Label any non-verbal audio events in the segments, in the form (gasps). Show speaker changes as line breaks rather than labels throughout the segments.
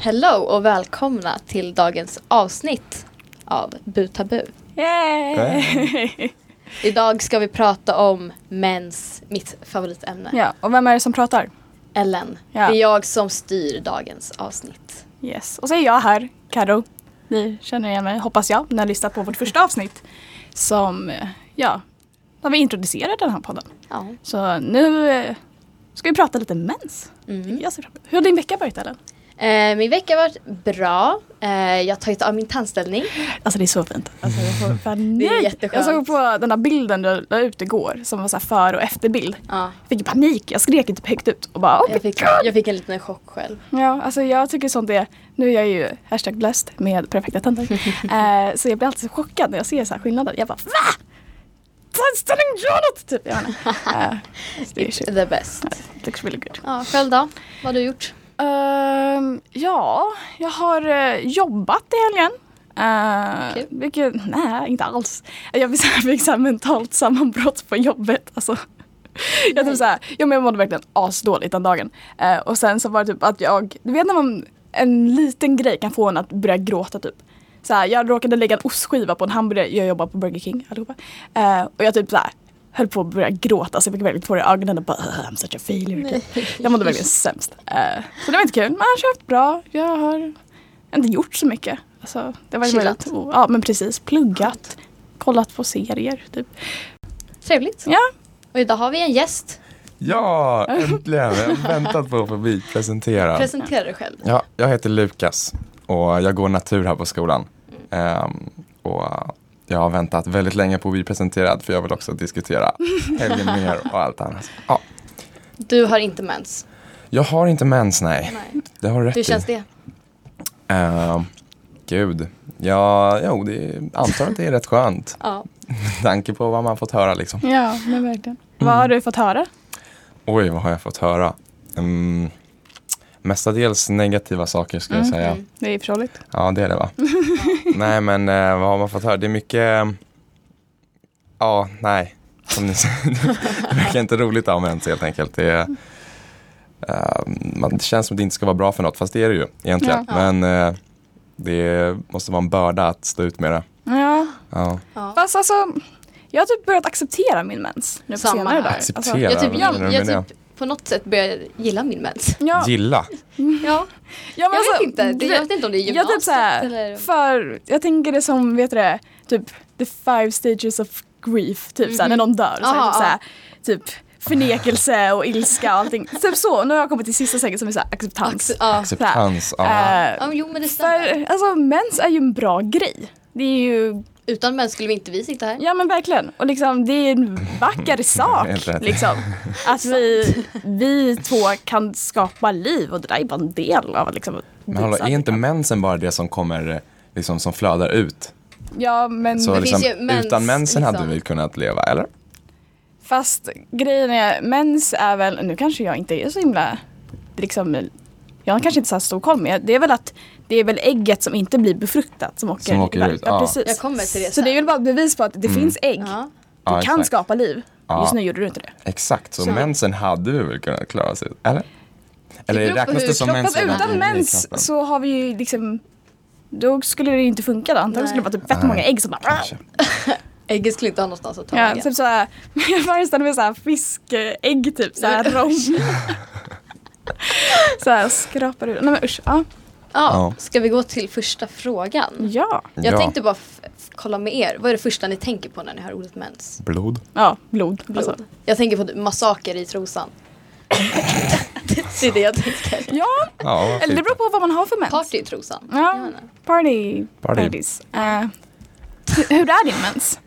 Hello och välkomna till dagens avsnitt av Butabu.
Äh?
Yay!
Idag ska vi prata om mens, mitt favoritämne.
ja, och vem är det som pratar?
Ellen,
Ja.
det är jag som styr dagens avsnitt.
Yes, och så är jag här, Karo. Ni känner igen mig, hoppas jag, när ni har lyssnat på vårt första avsnitt. Som, eh, ja, har vi introducerat den här podden.
Ja.
Så nu eh, ska vi prata lite mens.
Mm.
Jag ser fram emot- Hur har din vecka varit Ellen?
Eh, min vecka har varit bra. Eh, jag har tagit av min tandställning.
Alltså det är så fint. Alltså, jag får panik.
Det är jätteskönt.
Jag såg på den här bilden du la ut igår som var så här för och efterbild.
Ja,
Jag fick panik, jag skrek inte högt ut och bara oh
jag, fick, jag fick en liten chock själv.
Ja, alltså jag tycker sånt är, nu är jag ju hashtag blessed med perfekta (laughs) tänder. eh, så jag blir alltid så chockad när jag ser så här skillnader. Jag bara VA? Tandställning gör något! Typ, jag vet inte. (laughs) eh, så det är sjukt.
The best.
It looks really good.
Ja, själv då? Vad har du gjort?
Ehm, ja, jag har eh, jobbat i helgen. Eh,
Kul.
Vilket, nej inte alls. Jag fick så här- (laughs) fick så här mentalt sammanbrott på jobbet. Alltså, jag, typ så här, ja, men jag mådde verkligen asdåligt den dagen. Eh, och sen så var det typ att jag, du vet när man, en liten grej kan få en att börja gråta typ. Så här, jag råkade lägga en ostskiva på en hamburgare, jag jobbar på Burger King allihopa. Eh, och jag typ så här, höll på att börja gråta så jag fick verkligen tårar i ögonen och bara I'm such a failure. Typ. Jag mådde verkligen sämst. Eh, så det var inte kul. Men jag har kört bra. Jag har inte gjort så mycket. Alltså, det var
Chillat.
väldigt, o- ja men precis. Pluggat. Kollat på serier typ.
(laughs) Trevligt.
Ja.
Och idag har vi en gäst.
(laughs) Ja, äntligen! Jag har väntat på att få bli presenterad.
Presentera dig själv.
Ja, jag heter Lukas och jag går natur här på skolan. Ehm, och jag har väntat väldigt länge på att bli presenterad för jag vill också diskutera helgen mer och allt annat. Ja,
Du har inte mens.
jag har inte mens, nej.
Nej.
Det har du rätt
Hur känns
i.
det?
Ehm, gud, ja, jo, det är, antar att det är rätt skönt.
Ja.
Med tanke på vad man fått höra liksom.
Ja, men verkligen. Vad har du fått höra?
Oj, vad har jag fått höra? Mm, mestadels negativa saker skulle
Mm,
jag säga.
Det är förståeligt.
Ja, det är det
(laughs)
va? nej, men eh, vad har man fått höra? Det är mycket... eh, Ja, nej. Som ni säger, (laughs) det verkar inte roligt att ha mens helt enkelt. Det, är, eh, man, det känns som att det inte ska vara bra för något, fast det är det ju egentligen.
Ja.
Men eh, det måste vara en börda att stå ut med det.
Ja.
Ja.
Ja.
Fast alltså, jag har typ börjat acceptera min mens. Nu på
Samma
senare
här.
dagar. Alltså,
Acceptera?
Jag typ,
Vad
jag,
menar du med
jag typ på något sätt börjar gilla min mens.
ja,
Gilla.
Ja,
(laughs) ja, men
jag
alltså,
vet inte. Det,
du
jag
vet-
vet inte om det är
Jag typ
gymnasiet
såhär,
eller...
för, jag tänker det som, vet du det, typ the five stages of grief, typ såhär när någon dör. Så är det
Mhm. Aha,
typ, såhär, typ förnekelse och ilska och
(laughs)
allting. typ så, nu har jag kommit till sista säkert som är såhär acceptans.
Accept- Alltså, ja. Äh,
Acceptans. typ Ja.
Eh,
ja, men jo men det stämmer.
Alltså, för, alltså mens är ju en bra grej. Det är ju,
Utan mens skulle vi inte vi sitta här.
ja men verkligen. Och liksom det är en
(laughs)
vacker
Helt
sak.
rätt. (laughs)
Liksom. Att vi, vi två kan skapa liv och det där är bara en del av liksom,
Men hallå, är inte mensen bara det som kommer eh, liksom, som flödar ut?
Ja men
Så
Mm, Det
liksom,
finns ju mens,
utan mensen
liksom.
hade vi kunnat leva, eller?
Fast grejen är, mens är väl, nu kanske jag inte är så himla, liksom, jag har kanske inte så här stor koll men det är väl att det är väl ägget som inte blir befruktat som åker,
Som åker
iväg.
ut,
Ja,
ja. Mm.
precis.
Jag kommer till det
så det är väl bara ett bevis på att det finns ägg.
Ja.
Du kan
Ja, exakt.
skapa liv.
Ja.
Just nu gjorde du inte det.
Exakt, så,
Så-
mensen hade vi väl kunnat klara sig Eller?
beror
Eller
på
räknas
hur
det som
kroppen-
mens?
Fast
redan
utan
i- i
mens
kroppen?
så har vi ju liksom, då skulle det ju inte funka då. Antagligen
Nej.
skulle det vara typ fett
Nej.
många ägg som bara
Kanske.
Ägget skulle inte ha någonstans att ta
Ja,
vägen.
typ (laughs) såhär, jag föreställer mig såhär fiskägg typ såhär rom. (laughs) såhär skrapar ur. Nej men usch.
Ja,
Ja.
Ja.
ska vi gå till första frågan?
Ja.
Jag
Ja.
tänkte bara f- f- kolla med er. Vad är det första ni tänker på när ni hör ordet mens?
Blod.
Ja, blod.
Blod.
Alltså.
Jag tänker på typ massaker i
(laughs)
trosan. det är det jag tänker.
Ja,
Ja, vad
eller det
fint.
beror på vad man har för mens.
Party i trosan. Jag
Ja,
menar.
party.
Party.
Parties. Eh, hur- hur är din mens?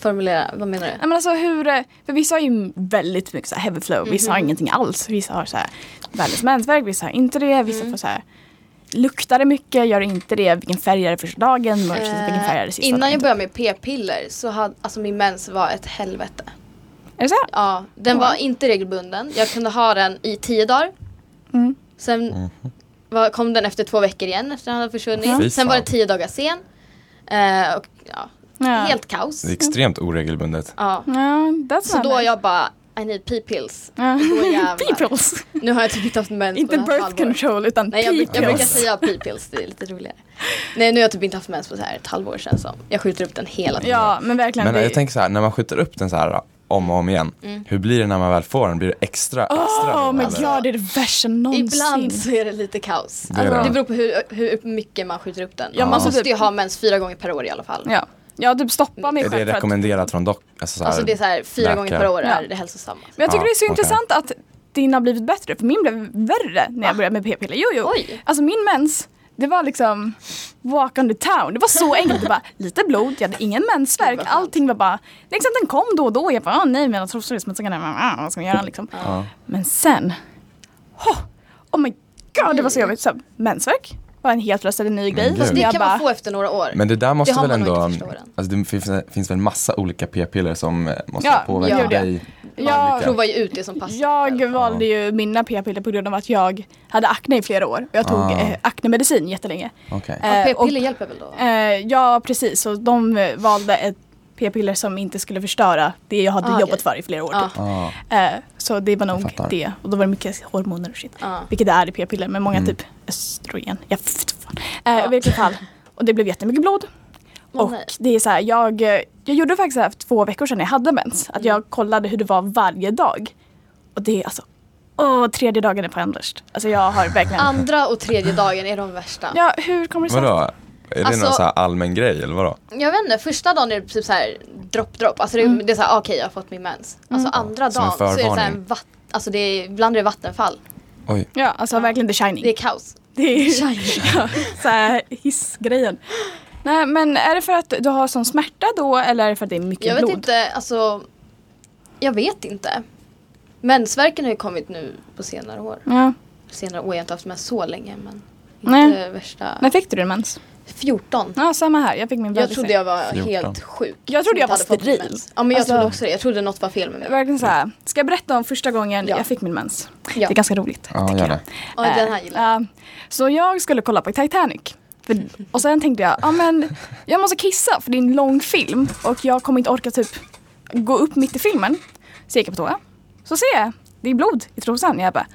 Formulera, vad menar du?
Nej, men alltså hur, eh, för vissa har ju väldigt mycket så här heavy flow, vissa har
Mhm.
ingenting alls. Vissa har så här världens mensvärk, vissa har inte det, vissa
Mm.
får så här Luktar det mycket? Gör det inte det? Vilken färg är det första dagen? Vilken färg är det
Eh,
sista
innan
dagen?
jag började med p-piller så hade alltså min mens var ett helvete.
Är det så? här?
Ja, den
Wow.
var inte regelbunden. Jag kunde ha den i tio dagar.
Mm.
Sen
Mhm.
var, kom den efter två veckor igen efter den hade försvunnit.
Fy
Sen var
fan.
den tio dagar sen. Eh, och, ja,
Ja.
Helt kaos.
Det är extremt oregelbundet.
Ja.
Ja, that's
Så
not
då
nice.
jag bara, I need p-pills.
Ja.
Då
(laughs)
jävlar.
Peoples.
Nu har jag typ inte haft mens på
Inte
nästan
birth
halvår.
control utan
Nej jag, bruk- jag brukar
peoples.
säga p-pills, det är lite roligare. Nej nu har jag typ inte haft mens på så här ett halvår känns som. Jag skjuter upp den hela tiden.
Ja men verkligen.
Men
det- Mm.
jag tänker så här, när man skjuter upp den så här om och om igen. Hur blir det när man väl får den? Blir det extra, extra?
Åh oh
nu,
men
eller?
ja det är det värsta någonsin.
Ibland så är det lite kaos.
Det
Det,
är
alltså,
det.
det beror på hur, hur mycket man skjuter upp den.
Ja,
man
men alltså
måste
typ-
ju ha mens fyra gånger per år i alla fall.
Ja. Jag typ stoppar mig
Är det
själv för att
rekommenderat från dock? Alltså så här,
Alltså det är så här, fyra
Läkare.
gånger per år är
Ja.
det hälsosamma.
Men jag tycker
Ja,
det är så
okej.
intressant att din har blivit bättre, för min blev värre när jag började med p-piller. Jo, jo.
Ah. Oj.
Alltså min mens, det var liksom walk on the town. Det
(laughs)
var så enkelt. Det var lite blod, jag hade ingen
Gud,
mensvärk.
vad skönt.
Allting var bara, liksom den kom då och då. Jag bara, "Ah, nej mina trosor är smutsiga, nej, men, ah, vad ska man göra liksom.
Ja.
Men sen, oh, oh my god det var så jobbigt. Så, här, mensvärk var en helt plötsligt ny grej.
gud.
Och så
Det
jag
kan man få efter några år.
Men det där måste
har
väl
man nog
ändå,
inte förstå den.
alltså det finns, finns väl massa olika p-piller som eh, måste
Ja,
påverka
ja.
dig?
Ja,
olika.
Prova ju ut det som passar.
Jag
själv.
valde ju mina p-piller på grund av att jag hade akne i flera år. Jag tog
Ah.
eh, aknemedicin jättelänge.
Okej.
Ja,
Eh, och-
P-piller hjälper väl då?
Eh, ja, precis. Så de eh, valde ett p-piller som inte skulle förstöra det jag hade
Ah, okej.
jobbat för i flera år.
Ja.
Typ.
Ah,
Eh, så det var nog
fattar.
det. Och då var det mycket hormoner och shit.
Ja.
Vilket det är i p-piller, men många
Mm.
typ östrogen. Jag vet fan. Eh, I vilket fall. Och det blev jättemycket blod.
Åh,
och
nej.
det är så här, jag, eh, jag gjorde faktiskt så här för två veckor sedan när jag hade mens.
Mm.
Att jag kollade hur det var varje dag. Och det är alltså, åh, tredje dagen är fan värst. Alltså jag har verkligen,
Andra och tredje dagen är de värsta.
ja hur kommer det sig? att-
vadå? Är det
Alltså-
någon så här allmän grej eller vadå?
Jag vet inte, första dagen är det typ så här dropp dropp. Alltså det,
Mm.
det är så här, okej jag har fått min mens. Alltså andra
Som en
dagen så är det så här
förvarning.
en vatt, alltså det är, ibland är det vattenfall.
Oj,
Ja, alltså verkligen the shining.
Det är kaos. (laughs)
Det är
Tjejer.
(laughs) ja, så här hissgrejen. Nej men är det för att du har sån smärta då eller är det för att det är mycket
Jag vet
blod?
inte, alltså. Jag vet inte. Mensvärken har ju kommit nu på senare år.
Ja.
Senare år, jag har inte haft mens så länge men. Inte
Nej.
värsta.
När fick du din mens?
14.
Ja samma här, jag fick min
Jag
bebis
trodde
där.
jag var
14.
helt sjuk.
Jag trodde jag
Som inte
var
hade fått
steril.
mens. Ja men jag
Alltså-
trodde också det. Jag trodde något var fel med mig.
Verkligen så här. Ska jag berätta om första gången
Ja.
jag fick min mens?
Ja.
Det är ganska roligt.
ja
tycker
gör
jag.
det.
Ja, den här gillar jag.
Eh, Så jag skulle kolla på Titanic. För, och sen tänkte jag, ja men jag måste kissa för det är en lång film och jag kommer inte orka typ gå upp mitt i filmen. Så jag gick jag på toa. Så ser jag, det är blod i trosan. Jag bara,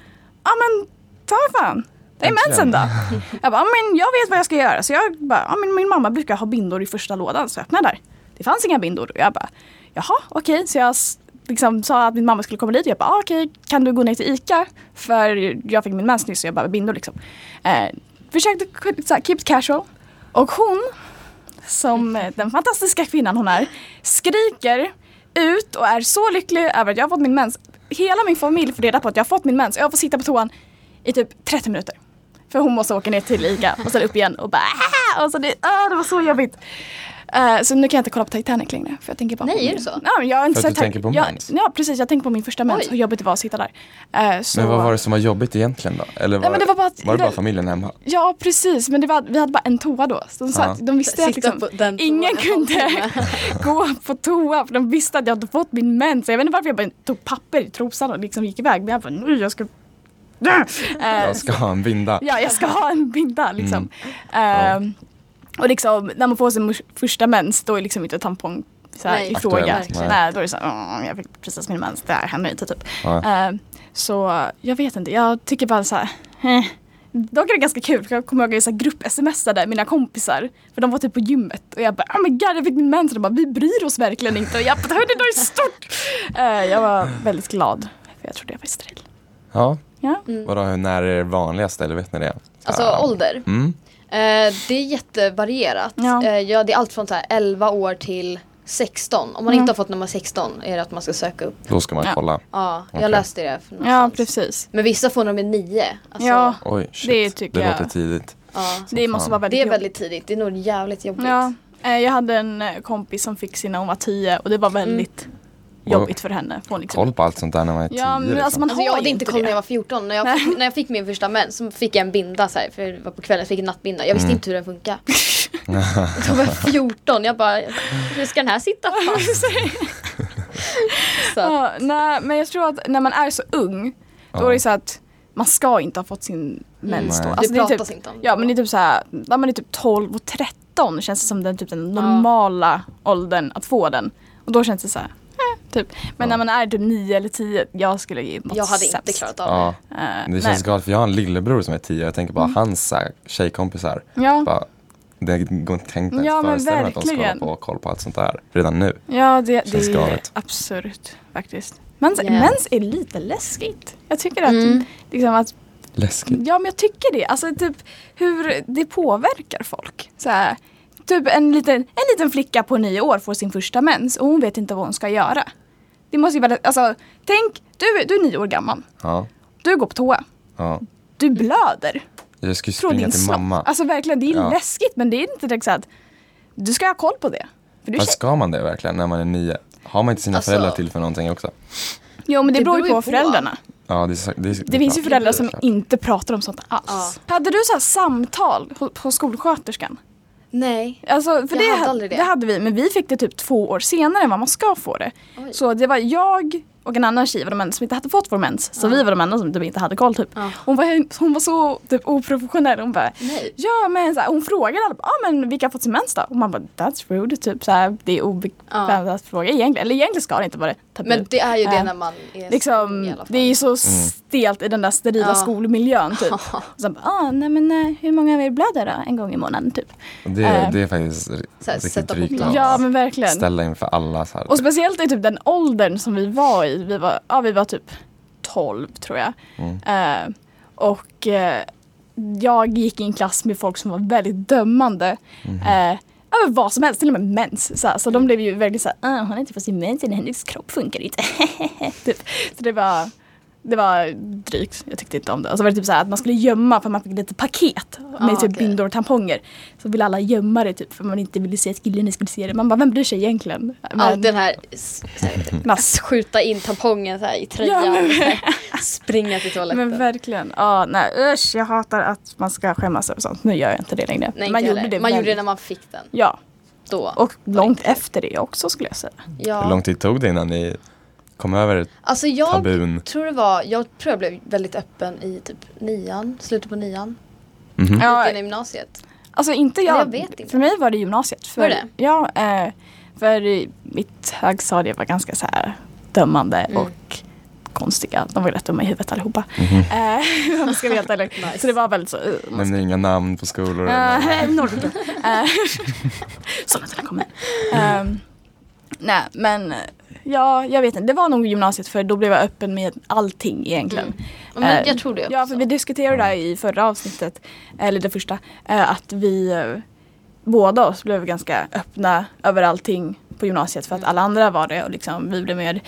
ja men ta fan. Det är mensen
Äntligen.
då. Jag bara, ja men jag vet vad jag ska göra. Så jag bara, ja men min mamma brukar ha bindor i första lådan så jag öppnade där. Det fanns inga bindor. Och jag bara, jaha okej. Så jag s- liksom sa att min mamma skulle komma dit och jag bara, ah, okej kan du gå ner till ICA? För jag fick min mens nyss så jag bara, bindor liksom. Eh, försökte k- så här, keep it casual. Och hon, som eh, den fantastiska kvinnan hon är, skriker ut och är så lycklig över att jag har fått min mens. Hela min familj får reda på att jag har fått min mens. Jag får sitta på toan i typ 30 minuter. För hon måste åka ner till ICA och sen upp igen och bara "Ah!" och så det, ah, det var så jobbigt. Eh, så nu kan jag inte kolla på Titanic längre. För jag tänker bara på
Nej,
min-
är det så?
Ja, men jag har inte
För att
sett
du
Ti-
tänker på
jag,
mens?
Ja, precis. Jag tänker på min första mens.
Oj.
Hur jobbigt det var att sitta där. Eh, så,
Men vad var det som var jobbigt egentligen då? Eller var,
men det var bara att-
det bara familjen hemma?
Ja, precis. Men det var, vi hade bara en toa då. Så de, sa
Ja.
att de visste att
Sitta
liksom,
på den toan
ingen
en
kunde (laughs) gå på toa. För de visste att jag hade fått min mens. Så Jag vet inte varför jag bara tog papper i trosan och liksom gick iväg. Men jag bara, nu jag ska... (laughs) Eh,
Jag ska ha en binda.
Ja, jag ska ha en binda liksom.
Ja.
Ehm, och liksom, när man får sin mors- första mens då är liksom inte tampong så här,
Nej.
i fråga.
Aktuellt,
Nej.
nej.
då är det så här, "Åh, jag fick precis min mens, det här händer inte typ.
Ja.
Ehm, så jag vet inte, jag tycker bara så här, eh. Dock är det ganska kul, för jag kommer ihåg att jag grupp-smsade mina kompisar. För de var typ på gymmet och jag bara oh my god jag fick min mens och de bara vi bryr oss verkligen inte. Och jag bara hörni det är stort! Ehm, jag var väldigt glad för jag trodde jag var steril.
Ja.
Ja.
Vadå, hur- när är det vanligast eller vet ni det? Så
Alltså
här,
ålder.
Mm.
Eh, det är jättevarierat.
Ja.
Eh, ja, det är allt från så här 11 år till 16. Om man inte har fått nummer 16 är det att man ska söka upp.
Då ska man
Ja.
kolla.
Ja, jag
Okej.
läste det för
ja
någonstans.
precis.
Men vissa får nummer 9. Alltså,
Ja.
Oj, shit.
Det tycker jag-
låter tidigt.
ja.
Det måste
fan.
vara väldigt
Det är
jobbigt.
väldigt tidigt. Det är nog jävligt jobbigt.
Ja, eh, jag hade en eh, kompis som fick sin när hon var tio och det var
Mm.
väldigt jobbigt för henne. För hon liksom,
Koll på allt sånt där när man är tio. liksom.
ja, men alltså man
Alltså, jag
har
hade
ju
inte koll när jag var 14. När jag, fick, när jag fick min första mens så fick jag en binda så här, för det var på kvällen, så fick jag en nattbinda. Jag
Mm.
visste inte hur den
(laughs)
funkar. Då var jag 14, jag bara, hur ska den här sitta
Alltså,
fast? Så att,
Ja, nej, men jag tror att när man är så ung då
Ja.
är det så att man ska inte ha fått sin mens då.
Nej.
det
är
pratas
typ,
inte om
Ja men det är typ såhär, när man är typ 12 och 13 känns det som den, typ den normala åldern att få den. Och då känns det såhär, eh, Typ. Men när man är typ nio eller tio, jag skulle ge något
Jag hade inte
sämst.
klarat av det.
Ja.
Eh,
Det
nej. Mm.
känns galet för jag har en lillebror som är tio. Jag tänker bara hans så här, tjejkompisar.
Ja,
Bara, det går inte tänkt ens
Ja, men
föreställa mig att de ska hålla
verkligen.
på och kolla på allt sånt där redan nu.
ja det, det
Känns
är ju
galet.
absurt faktiskt. Mens,
Ja.
mens är lite läskigt. Jag tycker att,
Mm.
liksom att
Läskigt.
Mm, Ja men jag tycker det. Alltså typ hur det påverkar folk. Så här, typ en liten, en liten flicka på nio år får sin första mens och hon vet inte vad hon ska göra. Det måste ju vara, alltså tänk, du, du är nio år gammal.
Ja,
Du går på toa.
ja.
Du
Mm.
blöder
Jag skulle
från
springa
din
till
snopp.
mamma.
Alltså verkligen, det är
Ja.
läskigt men det är inte direkt så att du ska ha koll på det. För du är
Fast
tjej.
ska man det verkligen när man är nio? Har man inte sina
Alltså-
föräldrar till för någonting också?
Jo men det,
Det
beror ju
beror ju på.
på, föräldrarna.
Ja, det, är, så- det, är,
Det, finns ju
klart.
föräldrar som
klart.
inte pratar om sånt alls. Hade du så här samtal på, på skolsköterskan?
Nej.
Alltså, för
Jag
det,
hade
hade
aldrig det.
det. hade vi, men vi fick det typ två år senare än vad man ska få det.
Oj.
Så det var jag och en annan tjej var de enda som inte hade fått vår mens. Så vi var de enda som typ inte hade koll typ.
Ja.
Hon, var, hon var så typ oprofessionell. Hon bara,
Nej.
ja men så här, hon frågade alla, ja ah, men vilka har fått sin mens då? Och man bara, that's rude. Typ så här, det är obekvämt att fråga egentligen. Eller egentligen ska det inte vara det. Tabu.
Men det är ju det
Eh,
när man är ung i
Liksom,
alla fall.
det är ju så stelt i den där sterila
Ja.
skolmiljön
(laughs)
typ. Och sen bara, ah, nej men eh, hur många av er blöder då? En gång i månaden typ.
Det, det är faktiskt
Så här,
riktigt
sätta på
drygt
plats.
att
Ja men verkligen.
ställa inför alla. Så här.
Och speciellt i typ den åldern som vi var i. Vi var, ja, vi var typ 12 tror jag.
Mm.
Eh, och eh, jag gick i en klass med folk som var väldigt dömande. Eh, över vad som helst, till och med mens. Så, så de blev ju väldigt såhär, ah, hon har inte fått sin mens, än, hennes kropp funkar inte. (laughs) typ. Så det var, det var drygt, jag tyckte inte om det. Och så var det typ såhär att man skulle gömma för man fick lite paket med
Ah,
typ
okej.
bindor och tamponger. Så ville alla gömma det typ för man inte ville se att killen skulle se det. Man bara, vem bryr sig egentligen? Men-
Allt den här, s- så här
Mass.
skjuta in tampongen så här i tröjan.
Ja, men-
så här, springa till toaletten.
Men verkligen. Ja, nej usch, jag hatar att man ska skämmas över sånt. Nu gör jag inte det längre.
Nej, man gjorde det. Man gjorde det
väldigt-
när man fick den.
Ja,
Då.
och långt efter det också skulle jag säga.
Hur
ja.
lång tid tog det innan ni kom över
Alltså jag
tabun?
tror det var, jag tror jag blev väldigt öppen i typ nian, slutet på nian.
Mhm.
Ja.
Ja,
i gymnasiet.
alltså inte
Eller
jag.
jag vet inte.
För mig var det gymnasiet. För,
Var det?
Ja, eh, för i mitt högstadie var ganska så här dömande
Mm.
och konstiga. De var ju rätt dumma i huvudet allihopa.
Mhm.
Eh, (laughs) om jag ska vara helt ärlig.
(laughs) Nice.
Så det var väldigt så. eh, man
Nämnde inga namn på skolor. eller-
Uh, Norrbotten. Eh, Sådana där kommer. Ehm, nej men ja, jag vet inte. Det var nog gymnasiet för då blev jag öppen med allting egentligen.
Ja, Men
Eh,
jag tror det också.
Ja för vi diskuterade det här i förra avsnittet, eller det första, eh, att vi eh, båda oss blev ganska öppna över allting på gymnasiet för att alla andra var det och liksom vi blev mer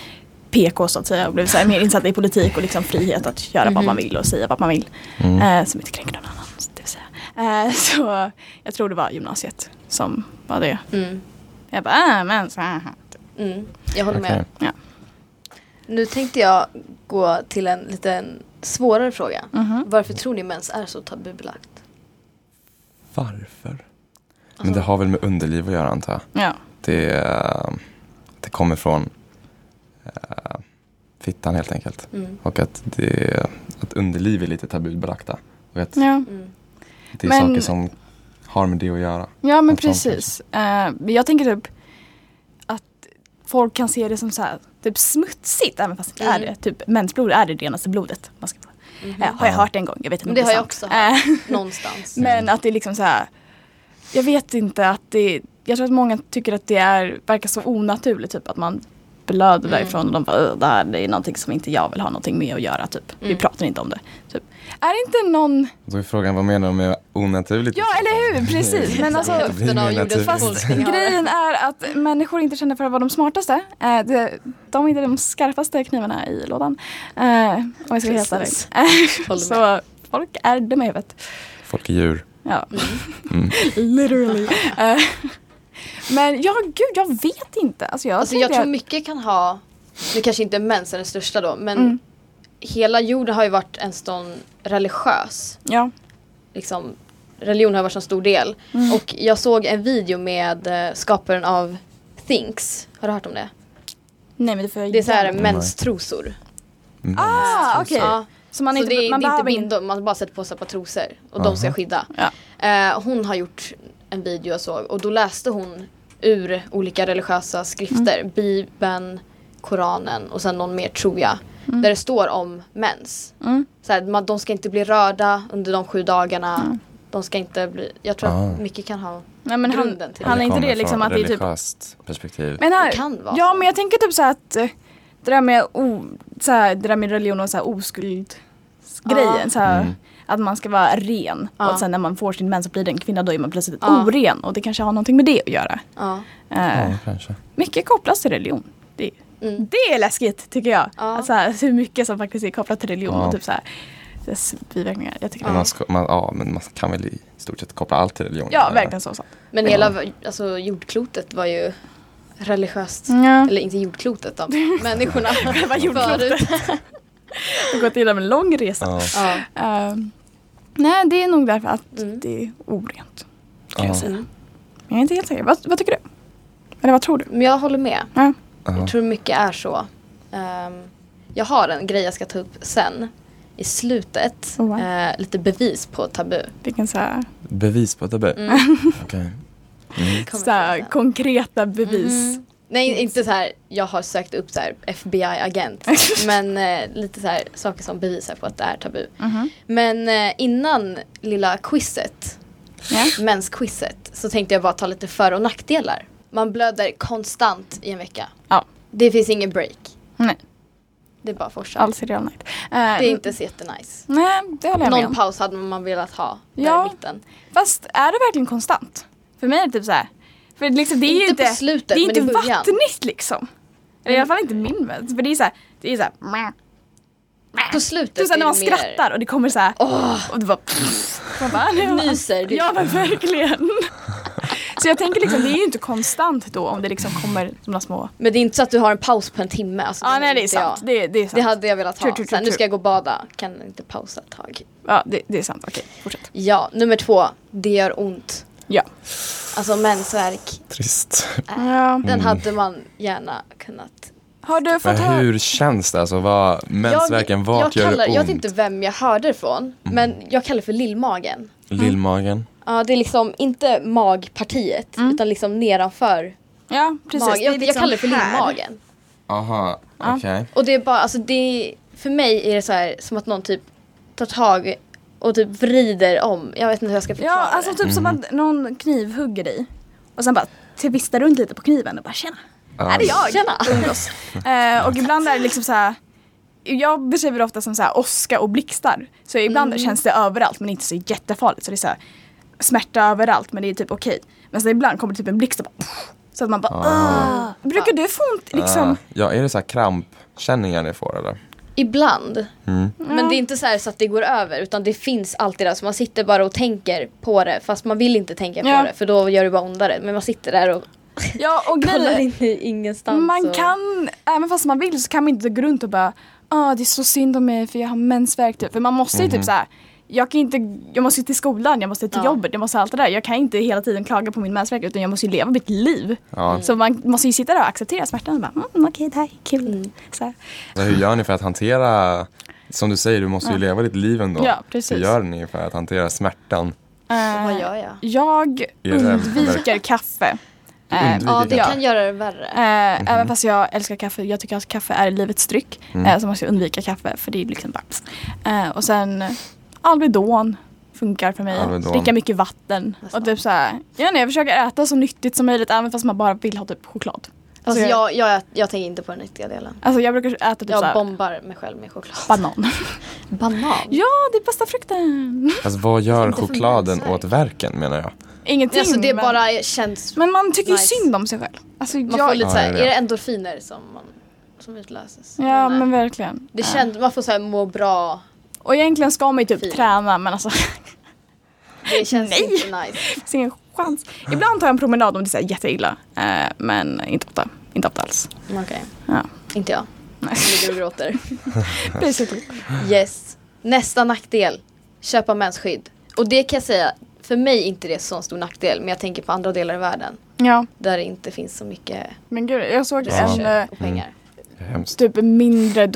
PK så att säga och blev så här, mer insatta i politik och liksom frihet att göra vad man vill och säga vad man vill.
Mm.
Mm.
Eh, som inte kränker någon annan. Det vill säga. Eh, (laughs) så jag tror det var gymnasiet som var det.
Mm.
Jag bara, äh, men så här.
Mm. Jag håller
Okej.
med.
Ja.
Nu tänkte jag gå till en liten svårare fråga.
Mhm.
Varför tror ni mens är så tabubelagt? Alltså,
Varför? Men
Alltså-
det har väl med underliv att göra antar jag.
Ja.
Det, eh, det kommer från eh, fittan helt enkelt.
Mm.
Och att, det, att underliv är lite tabubelagda. Och att
ja.
Mm.
det är
Men-
saker som har med det att göra.
Ja men
Något sånt
precis. Eh, men jag tänker typ att folk kan se det som så här, typ smutsigt även fast det inte
Mm.
är det. Typ mensblod är det renaste blodet. Man ska,
Mhm.
eh, har jag
Ja.
hört en gång, jag vet inte
Men det
om
har
är
jag också
sant.
hört.
Eh,
Någonstans.
men att det är liksom så här. Jag vet inte att det, jag tror att många tycker att det är, verkar så onaturligt typ att man blöder
Mm.
därifrån och de bara "Åh, det här det är någonting som inte jag vill ha någonting med att göra typ. Vi
Mm.
pratar inte om det. Typ. Är det inte någon,
Då är frågan vad menar de med onaturligt? Liksom,
(laughs)
ja eller hur, precis. Men alltså,
Det blir
Hälften av
mer
jordens
naturligt.
befolkning har det.
Grejen är att människor inte känner för att vara de smartaste. Eh, det, de är inte de skarpaste knivarna i lådan. Eh, om jag ska vara helt
Precis.
ärlig. (laughs)
Håller
Så folk är dumma i huvudet.
Folk är djur.
Ja.
Mm.
(laughs) Literally. Eh, men ja, gud, jag vet inte. Alltså, jag,
Alltså jag
tänkte
tror
att-
mycket kan ha, nu kanske inte mens är den största då, men
Mm.
hela jorden har ju varit en sån religiös
Ja.
liksom, religion har varit en stor del.
Mm.
Och jag såg en video med eh, skaparen av Things. Har du hört om det?
Nej, men det får jag
Det är så här
gärna.
menstrosor.
Mm.
Ah, okej.
Ja.
Så man,
så
inte,
det är,
man
det är inte
behöver
bindor, man bara sätter på sig ett par trosor och de ska
Aha.
skydda.
Ja.
Eh, hon har gjort en
Mm.
video jag såg och då läste hon ur olika religiösa skrifter, Bibeln, Koranen och sen någon mer tror jag.
Mm.
Där det står om mens. Så här, man, de ska inte bli rörda under de sju dagarna. De ska inte bli, jag tror
Ah.
att mycket kan ha,
Nej, men han,
Grunden till det.
han är inte
kommer
det liksom
från
att det är typ
religiöst perspektiv.
Men här,
Det kan vara
ja
så.
men jag tänker typ så här att eh, det där med, o, så här, det där med religion och så här oskuld grejen.
Ja.
Så här,
Mm.
Att man ska vara ren
Ja.
och att sen när man får sin mens så blir det en kvinna då är man plötsligt
Ja.
oren och det kanske har någonting med det att göra.
ja.
Eh,
ja, kanske.
Mycket kopplas till religion. Det,
Mm.
det är läskigt tycker jag.
Ja.
Att så här, hur mycket som faktiskt är kopplat till religion
Ja.
och typ så här, dess biverkningar. Jag tycker
Men
det
man,
är,
ska, man, ja, men man kan väl i stort sett koppla allt till religion.
ja verkligen så. så.
Men
Ja.
hela alltså, jordklotet var ju religiöst.
Ja.
Eller inte jordklotet
(laughs)
då. Människorna.
Mm. Själva jordklotet.
Förut.
Det har (laughs) gått igenom en lång resa.
Ja.
Ja.
Eh, nej det är nog därför att
Mm.
det är orent.
Ja.
Kan jag, säga.
Mm.
jag är inte helt säker. Vad, vad tycker du? Eller vad tror du?
Men jag håller med.
Ja.
Ja.
Jag tror mycket är så. Ehm, jag har en grej jag ska ta upp sen. I slutet.
Oh, wow.
eh, lite bevis på tabu.
Vilken så här,
Bevis på tabu?
Mm.
Okej. Mm,
Kommer
(laughs) så här,
till sen.
konkreta bevis.
Mhm. Nej, inte så här jag har sökt upp så här
(laughs)
FBI-agent. men eh, lite så här saker som bevisar på att det är tabu.
Mhm.
Men eh, innan lilla quizet
Ja.
mensquizet så tänkte jag bara ta lite för och nackdelar. Man blöder konstant i en vecka.
Ja.
Det finns ingen break.
Nej,
Det är bara fortsatt.
alls real night. Eh,
Det är inte så jättenice.
Nej, det håller jag med
Någon
om.
paus hade man velat ha där
Ja.
i mitten.
Fast är det verkligen konstant? För mig är det typ så här. För liksom, det är ju
Inte
inte,
på slutet,
det är
men
inte
i början.
vattnigt liksom. Eller i alla fall inte min vän. För det är så här, det är så här,
På slutet
typ så här när
är
man
det
skrattar och det kommer så här
Åh.
och det bara man bara,
mer, nyser du.
Ja men verkligen. Så jag tänker liksom det är ju inte konstant då om det liksom kommer sådana små.
Men det är inte så att du har en paus på en timme. Alltså,
Ja nej
vill
det är
inte
sant.
jag.
Det, det är
Det
sant.
hade jag velat ha.
True, true,
Så här, nu
true, true.
ska jag gå och bada. Kan inte pausa ett tag.
Ja det, det är sant. Okej fortsätt.
Ja, nummer två. Det gör ont.
Ja.
Alltså mensvärk.
Trist.
Äh.
Ja.
Mm.
Den hade man gärna kunnat
Har du fått
Men
höra?
hur känns det? Alltså, vad, mensvärken, vart
jag
gör
kallar,
det ont? Mm.
Jag vet inte vem jag hörde det från, men jag kallar det för lillmagen.
Mm.
Lillmagen?
Ja, det är liksom inte magpartiet, utan liksom nedanför
Ja Mm. precis.
magen.
det är
Jag, jag
liksom
kallar det för
här.
lillmagen.
Aha, okej.
Och det är bara, alltså det är, för mig är det så här som att någon typ tar tag och typ vrider om. Jag vet inte hur jag ska
Ja,
förklara
alltså typ som att någon knivhugger dig och sen bara tvistar runt lite på kniven och bara tjena, här är jag.
det. Tjena!
Umgås. (laughs) Eh, och ibland är det liksom så här. Jag beskriver det ofta som så här åska och blixtar. Så ibland känns det överallt men inte så jättefarligt. Så det är så här, smärta överallt men det är typ okej. Men sen ibland kommer det typ en blixt och bara pff, Så att man bara ah. Brukar du få ont liksom?
Ah, ja, är det så här krampkänningar ni får eller?
Ibland.
Mm.
Men det är inte så, här så att det går över utan det finns alltid där. Så man sitter bara och tänker på det fast man vill inte tänka
Ja.
på det för då gör det bara ondare. Men man sitter där och
Ja och
kollar
grejer.
in i ingenstans.
Man
och...
kan, även fast man vill så kan man inte gå runt och bara ah det är så synd om mig för jag har mensvärk typ. För man måste ju typ så här. Jag, kan inte, jag måste ju till skolan, jag måste till
Ja.
jobbet, jag måste allt det där. Jag kan inte hela tiden klaga på min mensvärk utan jag måste ju leva mitt liv.
Ja.
Så man måste ju sitta där och acceptera smärtan och bara mm, okej det här är kul. Så här.
Så hur gör ni för att hantera, som du säger, du måste ju leva ditt liv ändå.
Ja, precis.
Hur gör ni för att hantera smärtan?
Eh,
Vad gör jag?
jag
Är det-
undviker kaffe. Eh,
undviker
Ja, det
Ja.
kan göra det värre.
Eh, Även fast jag älskar kaffe, jag tycker att kaffe är livets dryck. Eh, så måste jag undvika kaffe för det är liksom bara... Eh, och sen eh, Alvedon funkar för mig.
Alvedon.
Dricka mycket vatten.
Nästan.
Och typ så här, jag, vet inte, jag försöker äta så nyttigt som möjligt även fast man bara vill ha typ choklad.
Alltså,
jag,
jag, jag, jag tänker inte på den riktiga delen.
alltså jag brukar äta typ så
Jag
här,
bombar mig själv med choklad.
banan. (laughs)
Banan?
ja, det är bästa frukten. (laughs)
Alltså vad gör
Inte för
chokladen
mensvärk.
åt verken menar jag?
Ingenting.
Alltså det
men,
bara känns...
men man tycker ju
Nice.
synd om sig själv. Alltså,
Man
jag,
får lite
Ja,
så här,
det
är
är det.
det endorfiner som, man, som utlöses?
ja,
Nej.
men verkligen.
det känns, man får så här må bra.
Och egentligen ska man ju typ
Fint.
träna men alltså
Det känns
Nej.
inte nice.
finns ingen chans. Ibland tar jag en promenad om det är så här jätteilla. Eh, men inte ofta. Inte ofta alls.
Mm, Okej,
Ja.
inte jag.
Nej.
Jag ligger och gråter.
Basically.
Yes. Nästa nackdel. Köpa mensskydd. Och det kan jag säga, för mig är inte det så stor nackdel. Men jag tänker på andra delar i världen.
Ja.
Där det inte finns så mycket
Men gud, jag såg en
resurser
eh,
och pengar.
Det är hemskt.
typ en mindre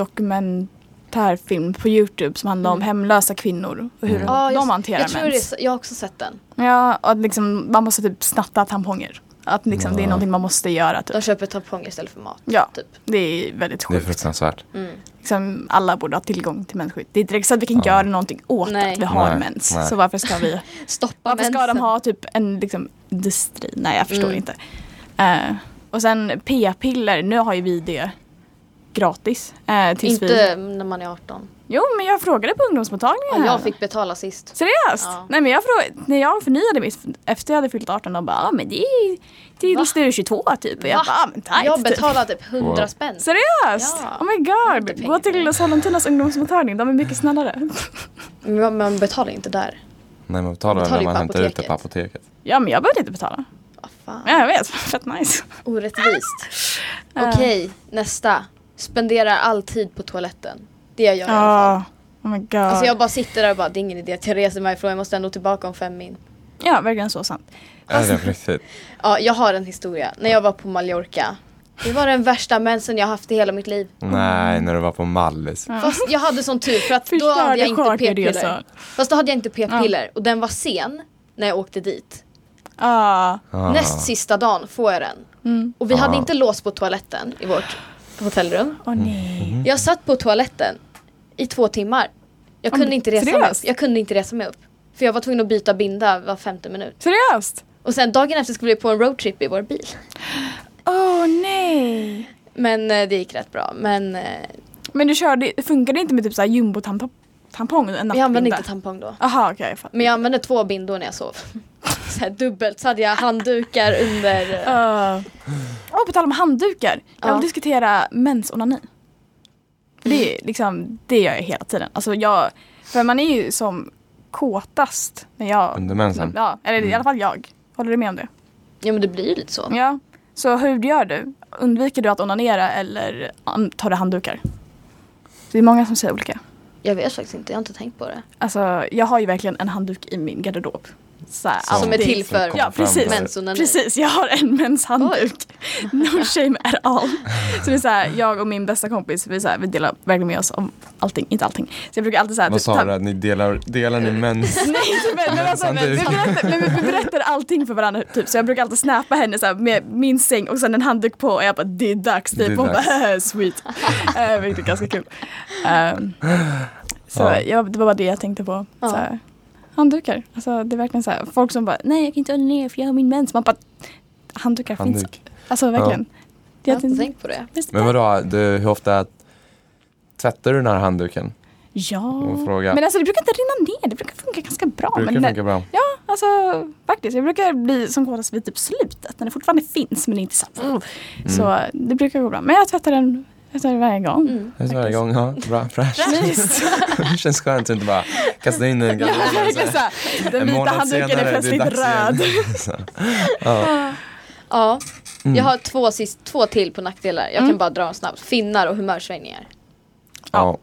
dokumentärfilm på Youtube som handlar om hemlösa kvinnor och hur
Mm.
Mm. Ja,
de
jag,
hanterar
jag tror det är,
mens.
så- Jag har också sett den.
Ja, och att liksom, man måste typ snatta tamponger. Att liksom, det är någonting man måste göra.
De
Typ.
köper tamponger istället för mat.
Ja,
Typ.
det är väldigt
Det är
sjukt.
fruktansvärt.
Mm.
Liksom, alla borde ha tillgång till mensskydd. Det är inte riktigt så att vi kan göra någonting åt
Nej.
att vi har
Nej,
mens.
nej.
Så varför ska vi
Stoppa
Varför ska de
mensen.
ha typ en liksom, industri? Nej, jag förstår
Mm.
inte. Eh, och sen p-piller, nu har ju vi det gratis. eh, tills Vi...
Inte när man är 18.
Jo, men jag frågade på ungdomsmottagningen.
Ja,
här.
jag fick betala sist.
Seriöst?
Ja.
Nej, men jag frågade, när jag förnyade mitt efter jag hade fyllt 18, de bara ja men det är tills du är 22 typ. Och jag
Va?
bara ja men tajt.
jag
typ.
betalade typ 100
Wow.
spänn.
Seriöst?
Ja.
Oh my
har inte
god.
pengar
Gå
för
till
det.
Sollentunas ungdomsmottagning, de är mycket snällare. (laughs)
Men man- man betalar inte där.
Nej, man betalar,
Betalar
när
ju
man
på
hämtar ut
apoteket.
det på apoteket.
ja men jag behövde inte betala.
Vad Ah, fan.
Ja, jag vet, (laughs) fett nice.
Orättvist.
Ah.
Okej, nästa. Spenderar all tid på toaletten. Det gör jag i alla fall.
Ja. Oh my god.
Alltså jag bara sitter där och bara, det är ingen idé att jag reser mig ifrån. Jag måste ändå tillbaka om fem min.
Ja, verkligen så sant.
Är det på riktigt?
Ja, jag har en historia. När jag var på Mallorca. Det var den värsta mensen jag haft i hela mitt liv.
Nej, när du var på Mallis.
Fast jag hade sån tur för att då
Ah. Förstörde
hade jag inte
charterresa.
p-piller. Fast då hade jag inte p-piller
Ah.
och den var sen när jag åkte dit.
Ja.
Ah.
Näst sista dagen får jag den.
Mm.
Och vi hade
Ah.
inte lås på toaletten i vårt hotellrum.
Åh nej.
Jag satt på toaletten i två timmar. Jag
Om-
kunde, inte resa mig upp.
seriöst?
jag kunde inte resa mig upp. För jag var tvungen att byta binda var femte minut.
Seriöst?
Och sen dagen efter skulle vi på en roadtrip i vår bil.
Åh nej.
Men eh, det gick rätt bra. Men eh,
Men du körde, funkade inte med typ såhär jumbo-tampong? En
jag använde
nattbinda?
inte tampong då.
Aha, okej. jag fattar.
Men jag använde två bindor när jag sov. (laughs) Så här dubbelt så hade jag handdukar under. eh,
Åh, på tal om handdukar. Jag vill
Ja.
diskutera mensonani. För det,
Mm.
är liksom, det gör jag hela tiden. Alltså jag, för man är ju som kåtast när jag...
Under mensen.
Ja, eller i
Mm.
alla fall jag. Håller du med om det?
Ja men det blir ju lite så.
Ja. Så hur gör du? Undviker du att onanera eller an- tar du handdukar? Det är många som säger olika.
Jag vet faktiskt inte, jag har inte tänkt på det.
Alltså jag har ju verkligen en handduk i min garderob. Så här,
Som är
alltid.
till för
Som
Ja,
kommer fram
precis.
där.
mensonani.
Precis, jag har en menshandduk. No shame at all. Så det är så här, jag och min bästa kompis, vi, är så här, vi delar verkligen med oss om allting, inte allting. Så typ jag brukar alltid säga
Vad sa du? Att ni delar, delar ni mens?
(laughs) Nej, men, men, alltså, men, vi, berättar, men vi, vi berättar allting för varandra. Typ. Så jag brukar alltid snappa henne så här, med min säng och sen en handduk på och jag bara det är dags.
Det
Typ.
är
Hon
dags.
bara
(laughs)
sweet. Eh, Vilket är ganska kul. Ehm, så
Ja.
jag, det var bara det jag tänkte på.
Ja.
Så här, handdukar. Alltså, det är verkligen så här, folk som bara nej jag kan inte onanera för jag har min mens. Man bara handdukar finns.
Handduk.
Alltså verkligen. Det
Jag
är
har inte tänkt på det.
Visst är
Men
det?
vadå, du, hur ofta tvättar du den här handduken?
Ja.
Och fråga.
Men alltså det brukar inte rinna ner. Det brukar funka ganska bra.
Brukar
men
funka bra.
Alltså faktiskt, jag brukar bli som kåtast vid typ slutet när det fortfarande finns men inte så mm. Så det brukar gå bra. Men jag tvättar den, jag tvättar den varje gång. (laughs)
Mm.
Det är varje gång, ja, bra, fräscht. Det känns skönt att inte bara kasta in den gamla
Jag verkligen så här, den vita handduken är plötsligt röd.
ja.
Ja,
Mm.
jag har två, sist, två till på nackdelar. Jag
Mm.
kan bara dra dem snabbt. Finnar och humörsvängningar.
(laughs) Ja.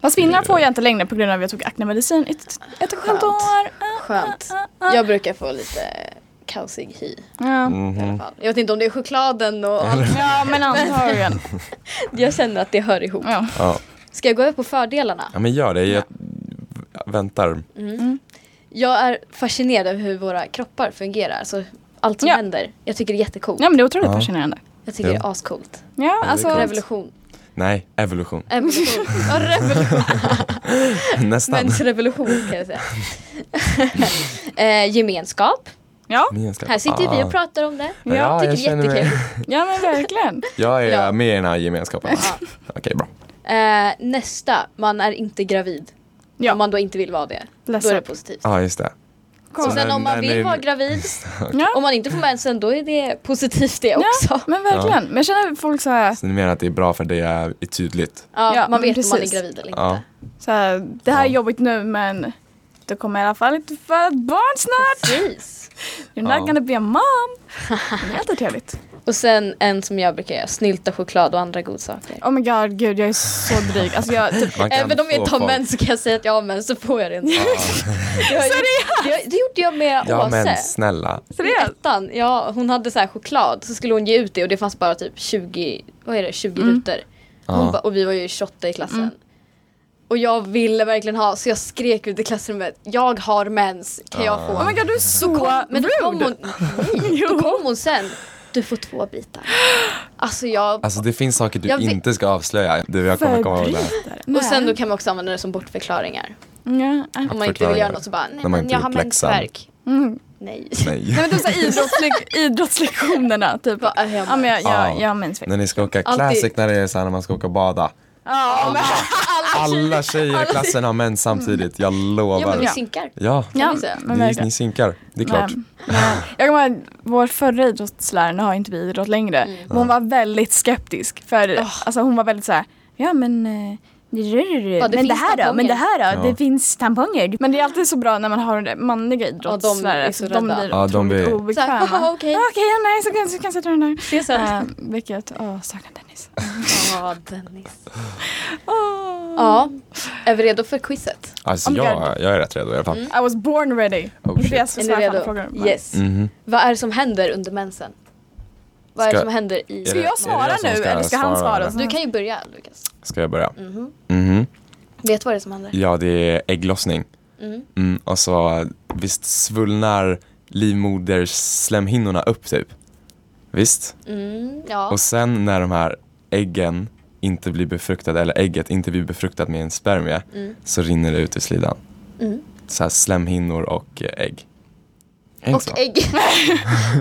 Fast finnar får jag inte längre på grund av att jag tog aknemedicin i ett, ett och ett halvt
Skönt.
år.
Skönt.
Ah.
Jag brukar få lite kaosig hy
Ja.
i alla
Mhm.
fall. Jag vet inte om det är chokladen och allt.
ja men antagligen.
Jag känner att det hör ihop.
Ja.
Ja.
Ska jag gå över på fördelarna?
ja, men gör det. Jag väntar.
Jag är fascinerad över hur våra kroppar fungerar. Alltså, allt som
Ja.
händer. Jag tycker det är jättecoolt.
ja men det är otroligt
Ja.
fascinerande.
Jag tycker
Jo.
det är ascoolt.
Ja
är
alltså.
coolt.
Revolution.
Nej, evolution.
(laughs)
(laughs)
Evolution. Ja, revolution.
Nästan.
Mensrevolution kan jag säga. (laughs) eh, gemenskap.
Ja,
Gemenskap.
Här sitter ju vi
Ah.
och pratar om det.
Ja,
jag tycker
jag
det är
känner mig-
jättekul.
ja men verkligen.
(laughs) Jag är
Ja.
med i den här gemenskapen. (laughs)
Ja.
Okej, bra.
Eh, nästa, man är inte gravid.
Ja.
Om man då inte vill vara det. Då är det
Ledsen.
positivt.
Ja, just det.
Och
Så
sen
när-
om man
när
vill
ni-
vara gravid, om
Ja.
man inte får mensen, då är det positivt det också.
Men verkligen. Men jag känner folk så här,
Så ni menar att det är bra för det är är tydligt?
Ja,
Ja,
man vet
precis.
om man är gravid eller inte.
Ja.
Så här, det här är
Ja.
jobbigt nu men du kommer i alla fall inte föda ett barn snart.
Precis.
You're
Ja.
not gonna be a mom. Det är alltid trevligt.
Och sen en som jag brukar göra, snylta choklad och andra godsaker.
Oh my god, gud jag är så dryg. Alltså jag, typ,
Man kan
Även om jag
få
inte har
folk-
mens så kan jag säga att jag har mens så får (laughs) jag det inte. Det, har jag gjort- det, har- det gjorde jag med
Ja, men
Åse.
snälla.
I
(laughs) seriöst.
ettan, ja, hon hade så här choklad så skulle hon ge ut det och det fanns
Mm.
bara typ 20, vad är det, 20 rutor. Hon
Ja.
Mm. ba, och vi var ju 28 i klassen. Och jag ville verkligen ha så jag skrek ut i klassrummet. Jag har mens, kan jag
Ah.
få?
Oh my god du är så kom,
Men då kom
rude!
hon, nej, då kom hon sen. Du får två bitar. Alltså jag...
Alltså det finns saker du
Jag vet-
inte ska avslöja. Du, jag kommer komma ihåg det här.
Och sen då kan man också använda det som bortförklaringar.
Ja. äh.
Mm.
Om man inte vill göra något så bara, nej
När man
men
inte
jag har
gjort läxan.
mensvärk. Nej. (laughs)
Nej.
Nej men typ såhär (laughs) idrottslek- idrottslektionerna typ.
Vad är hemma?
Ja men jag, jag,
Ja.
jag minns
När
fel.
ni ska åka
Alltid.
classic när det är så här när man ska åka och bada.
Ja, men-
Alla tjejer i klassen har mens samtidigt, jag
Ja men
lovar.
vi
Ja.
synkar.
Ja,
ja,
vi säga?
men
ni,
verkligen.
ni synkar. Det är klart.
Men, men, jag kommer ihåg vår förra idrottslärare, nu har inte vi idrott längre,
Mm.
men hon var väldigt skeptisk. För alltså, hon var väldigt så här, ja men eh,
det
men, det
finns
här då, men
tamponger."
det här då,
Ja.
det finns tamponger. Men det är alltid så bra när man har de manliga idrottslärare.
är så
för de
rädda.
blir
Ja, de
otroligt
blir-
obekväma.
Så här, "Haha, okej."
Ja, okej, ja, nej så kan- så kanske du den där.
Det är så här.
Eh, vilket, åh, stackars
(laughs)
Dennis.
Ja, Dennis.
Åh.
Ja, är vi redo för quizet?
Alltså
Oh my
jag, jag är rätt redo i alla fall.
Mm.
I was born ready.
Oh, shit.
Det är så
Är ni
svåra
redo?
frågor, men-
Yes.
Mhm.
Vad är det som händer under mensen? Vad är
Ska-
det som händer i...
Ska
Är det- är
jag
det alltså-
svara
jag som
nu
ska
eller ska han
svara,
svara?
eller?
Du kan ju börja Lukas.
Ska jag börja?
Mhm.
Mhm.
Vet vad det är som händer?
Ja, det är ägglossning.
Mm.
Mm, och så visst svullnar livmoderslemhinnorna upp typ? Visst?
Mm, ja.
Och sen när de här äggen inte blir befruktade, eller ägget inte blir befruktat med en spermie,
Mm.
så rinner det ut i slidan.
Mm.
Så här slemhinnor och eh, ägg. Är inte så?
Och
(laughs)
ägg.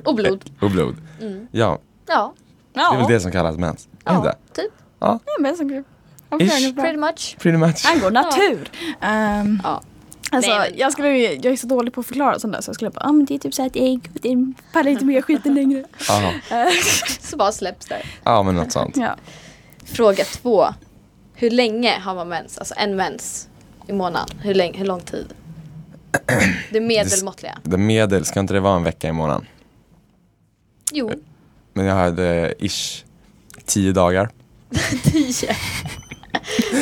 och blod.
Och blod.
Mm.
Ja,
Ja,
det är väl
Ja,
det som kallas mens? Är det
ja
inte?
typ.
jag är med som grupp. Jag
Ish.
förstår det bra.
Pretty much.
Pretty much.
Angår natur. Ehm,
Ja.
alltså,
Nej, men-
jag, skulle, jag är så dålig på att förklara sånt där så jag skulle bara, ah, men det är typ såhär ett ägg och det pallar inte med skiten längre.
Ja,
Så bara släpps det.
ja men något
(laughs)
sånt.
Ja.
Fråga två. Hur länge har man mens? Alltså en mens i månaden. Hur, länge, hur lång tid? Det medelmåttliga.
Det medel, ska inte det vara en vecka i månaden?
Jo,
Eh. Men jag hade eh, ish tio dagar.
(laughs) tio.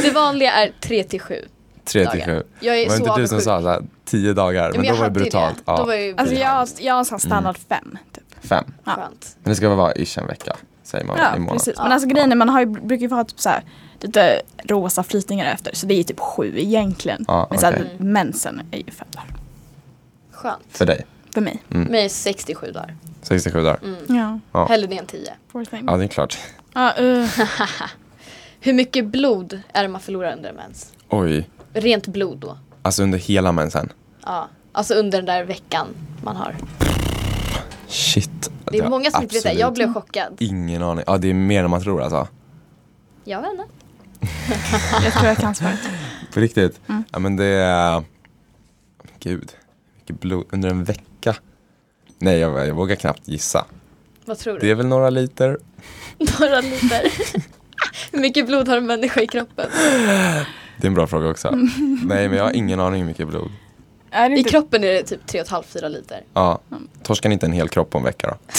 Det vanliga är tre till sju.
Tre till
Dagar.
sju.
Jag är
Var
så
det inte du som
avundsjuk.
sa såhär, tio dagar?
Ja,
Men,
jag
då var det
hade ju
brutalt. Ja,
Då var det ju
Alltså jag,
brutalt.
jag har sån
Mm.
standard fem. Typ.
Fem.
ja.
Skönt.
Men det ska vara ish en vecka, säger man väl, i
Ja,
månaden.
precis. Men alltså grejen är, man har ju, brukar ju få ha typ såhär lite rosa flytningar efter så det är ju typ sju egentligen.
Ja,
Men såhär,
okej.
mensen är ju fem dagar.
Skönt.
För dig.
För mig.
Mig är 67 dagar. Mm.
67 dagar.
Ja,
Ja.
Hellre det än 10.
poor thing.
Ja, det är klart.
Ja, eh,
Hur mycket blod är det man förlorar under en mens?
Oj.
Rent blod då.
Alltså under hela mensen.
Ja. Alltså under den där veckan man har.
Shit.
Det är många som inte vet det. Jag blev chockad.
Ingen aning. Ja, det är mer än man tror alltså.
Jag vet inte.
jag tror jag kan svaret.
På riktigt.
Mm.
Ja, men det är... Gud. Vilket blod. Under en vecka. Nej, jag, jag vågar knappt gissa.
Vad tror (laughs)
Det
du?
är väl några liter.
Några liter. (laughs) Hur mycket blod har en människa i kroppen?
Det är en bra
(laughs)
fråga också. Nej, men jag har ingen aning hur mycket blod.
(laughs) Är det
I
inte
kroppen är det typ 3,5-4 liter.
Ja. Torskar ni inte en hel kropp på en vecka då?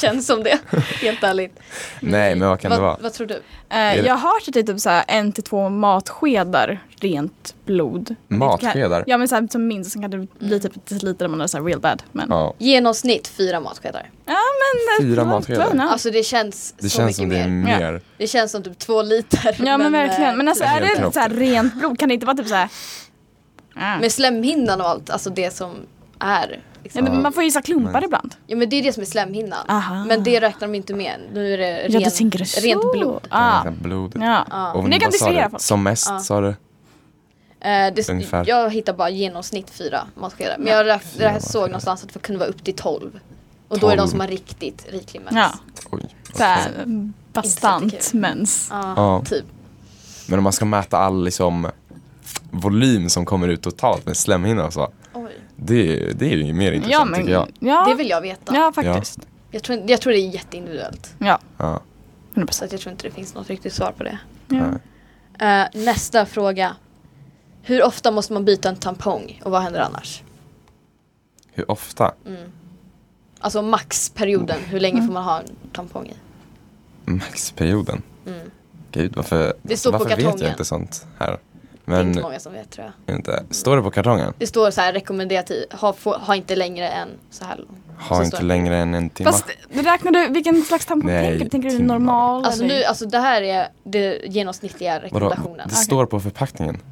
Känns som
(laughs)
det. Helt ärligt.
Nej, men vad kan
vad,
det vara?
Vad tror du?
Eh,
det-
Jag har hört att det är typ så här en till två matskedar rent blod.
Matskedar?
Ja men så här, som minst, sen kan det bli typ ett liter om man är så här real bad. Men, ja.
Ja.
Genomsnitt fyra matskedar.
men, eh,
Fyra
det var-
matskedar.
det var nog.
Alltså det känns
Det
så
känns
mycket
som det
mer.
är
Ja.
mer.
Det känns som typ två liter. typ.
Ja men verkligen.
eh,
Men alltså är
Helt
det
kropp.
så här rent blod? Kan det inte vara typ så här... Ah.
Med slemhinnan och allt, alltså det som är.
ja,
Liksom.
men man får ju så här klumpar
Men-
ibland.
Ja men det är det som är slemhinnan.
Aha.
Men det räknar de inte med. Nu är det,
ja, du
ren-
tänker så.
rent blod.
Ah.
Blodet.
Ja.
Ja.
Och
Men det kan
vad sa
distrahera
du?
folk.
Som mest
Ja.
sa du?
Eh, det,
Ungefär.
jag hittar bara genomsnitt fyra matskedar. Men jag räk- räk- såg någonstans att det kunde vara upp till 12. Och då är det de
Tolv.
som har riktigt riklig mens.
Ja.
Oj.
Så här,
Inte
bastant
så kul.
mens.
Ja,
Ja.
typ.
Men om man ska mäta all liksom, volym som kommer ut totalt med slemhinnan och så.
Oj.
Det, det är ju mer intressant
Ja men,
tycker jag.
ja.
Det vill jag veta.
Ja faktiskt.
Jag, tror, jag tror det är jätteindividuellt.
Ja.
Ja.
100%.
Så att jag tror inte det finns något riktigt svar på det.
Ja.
Nej.
Eh, nästa fråga. Hur ofta måste man byta en tampong och vad händer annars?
Hur ofta?
Alltså maxperioden, hur länge får man ha en tampong i?
Maxperioden?
Mm.
Gud, varför,
Det står på
varför vet
kartongen.
jag inte sånt här?
Det är
Men
inte många som vet tror jag.
inte. Står det på kartongen?
Det står så här rekommenderat i, ha, få, ha inte längre än så här lång.
Ha
Så
inte
står det.
längre än en timme.
Fast räknar du, vilken slags tampong
Nej,
tänker du? Tänker du
timmar.
normal?
Alltså
eller?
nu, alltså det här är den genomsnittliga
Vadå?
rekommendationen.
Det står på förpackningen.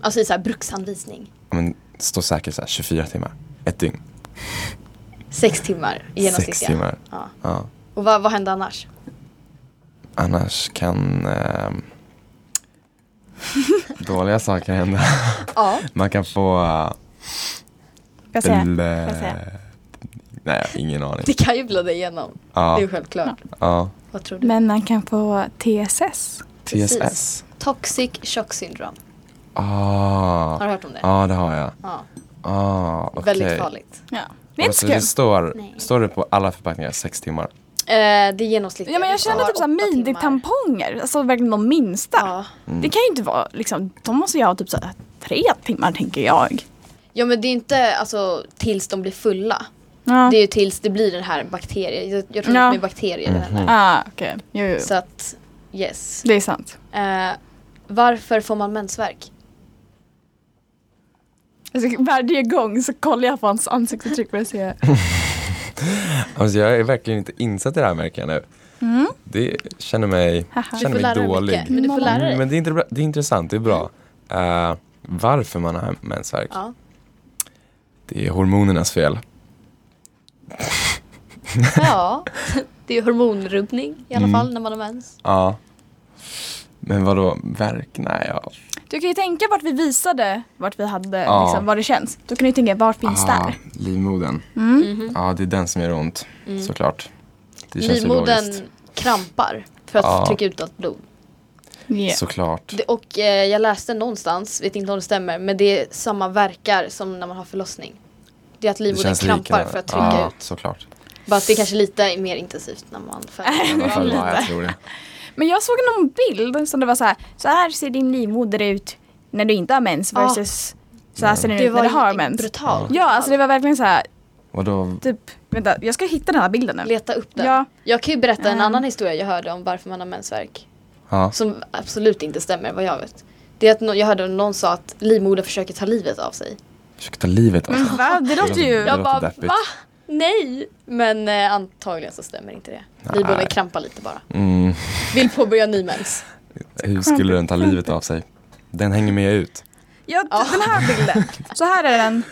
Alltså i så här bruksanvisning.
Men det står säkert så här 24 timmar. Ett dygn.
Sex timmar genomsnittliga.
Sex timmar.
Ja.
Ja.
Och vad, vad hände annars?
Annars
(laughs)
kan ehm, dåliga saker hända.
Ja.
Man kan få... eh,
Ska jag säga?
bl-
jag säga?
eh, Nej, jag har ingen aning.
(laughs) Det kan ju blöda igenom. Det är
Ja,
ju självklart.
ja.
Vad tror du?
Men man kan få TSS.
Precis.
TSS.
Toxic shock syndrome.
Ah.
Har du hört om det?
Ja, det har jag.
Ja.
Ah, okej.
Väldigt farligt.
Ja. Det är inte så
Alltså,
kul.
det står,
Nej.
står det på alla förpackningar sex timmar?
Eh, det är genomsnittligt.
Ja men jag
Det
känner
tar
typ såhär
åtta timmar.
minidamponger, alltså verkligen de minsta.
Ja.
Mm.
Det kan ju inte vara liksom, de måste ju ha typ såhär tre timmar tänker jag.
ja men det är inte alltså tills de blir fulla.
Ja,
Det är ju tills det blir den här bakterien. Jag, jag tror
Ja.
att det är bakterier i den
Mhm.
här.
ah, okej. Jo, jo.
Så att yes.
Det är sant.
Eh, varför får man mensvärk?
Alltså, varje gång så kollar jag på hans ansiktsuttryck för att se.
Alltså, jag är verkligen inte insatt i det här märker jag nu.
Mm.
Det känner mig,
Haha.
Du
känner
får lära
mig
dig
dålig.
mycket, men du får lära dig.
Mm.
Men det är, inte, bra- det är intressant, det är bra. Eh, varför man har mensvärk? (laughs)
Ja.
Det är hormonernas fel.
ja, det är ju hormonrubbning i alla
Mm.
fall när man har mens.
Ja. Men vadå, verk? Nej, ja.
Du kan ju tänka vart vi visade vart vi hade,
Ja.
liksom, var det känns. Då kan du ju tänka, vart finns
Ah,
där?
livmodern. Mm-hmm.
Mhm.
Ja, det är den som gör ont, såklart. Det känns ju logiskt.
Mm. Livmodern krampar för att
Ja.
trycka ut allt blod.
Yeah.
Såklart.
Det, och eh, jag läste någonstans, vet inte om det stämmer, men det är samma verkar som när man har förlossning. Det är att livmodern krampar
liknande.
för att trycka
ja,
ut.
såklart.
Bara att det är kanske lite mer intensivt när
(laughs)
man föder.
I alla fall, ja, jag tror det.
Men jag såg någon bild som det var så här, så här ser din livmoder ut när du inte har mens
Ja.
versus så här ser den
Ah. Det
ut när
var
du har
ju
mens.
brutalt.
Ja, alltså det var verkligen så här,
Vadå?
typ, vänta, jag ska hitta den här bilden nu.
Leta upp den.
Ja,
Jag kan ju berätta en
Mm.
annan historia jag hörde om varför man har mensvärk.
Ja.
Som absolut inte stämmer vad jag vet. Det är att nå- jag hörde någon sa att livmodern försöker ta livet av sig.
Försöker ta livet av sig.
men va? Det låter ju...
Ja.
Jag
låter
bara
deppigt.
va? Nej! Men eh, antagligen så stämmer inte det. Livmodern krampar lite bara.
Mm.
Vill påbörja ny mens.
Hur skulle den ta livet av sig? Den hänger med ut.
Ja, typ den här bilden. Så här är den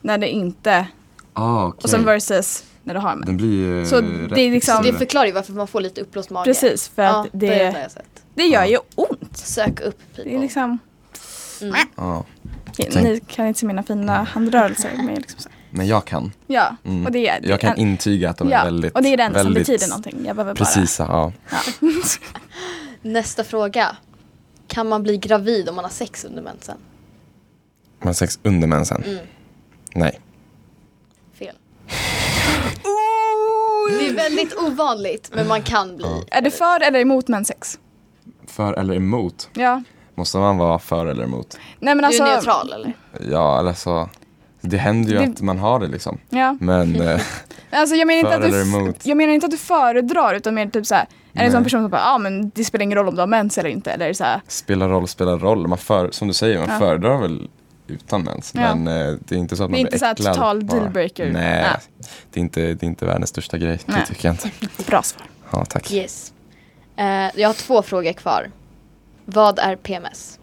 när det inte,
Ah, okay.
och sen versus när du har mens.
Den blir ju
Så det är liksom-
Så
Mm.
det förklarar ju varför man får lite uppblåst mage.
Precis, för
Ja,
att
det, det har
det,
jag sett.
det gör ju ont.
Sök upp people.
Det är liksom,
mm.
Ja.
ni kan inte se mina fina handrörelser. Men jag är liksom så här.
Men jag kan.
Ja,
Mm.
och det är
Jag kan intyga att de
ja,
är väldigt...
och det är den som
väldigt
betyder någonting. Jag behöver
Precisa, ja.
bara... Ja.
Nästa fråga. Kan man bli gravid om man har sex under mensen?
Man har sex under mensen.
Mm.
Nej.
Fel. Det är väldigt ovanligt men man kan bli.
Är du för eller emot menssex?
För eller emot?
Ja.
Måste man vara för eller emot?
Nej men alltså...
du är neutral eller?
Ja, eller så... Det händer ju
Det-
att man har det liksom.
Ja.
Men... eh,
Alltså, jag, menar inte
För
att du,
eller
f-
emot?
jag menar inte att du föredrar utan mer typ såhär, är det en
Nej.
sån person som bara, ja ah, men det spelar ingen roll om du har mens eller inte eller såhär.
spelar roll, spelar roll. Man för, som du säger, man
Ja.
föredrar väl utan mens.
Ja.
Men eh, det är inte så att man
Det är
blir
inte så här
äcklad
total
bara.
dealbreaker.
Nej,
Nej.
Det, är inte, det är inte världens största grej. Det
Nej.
tycker jag inte.
Bra svar.
Ja, tack.
Yes. Eh, jag har två frågor kvar. Vad är PMS?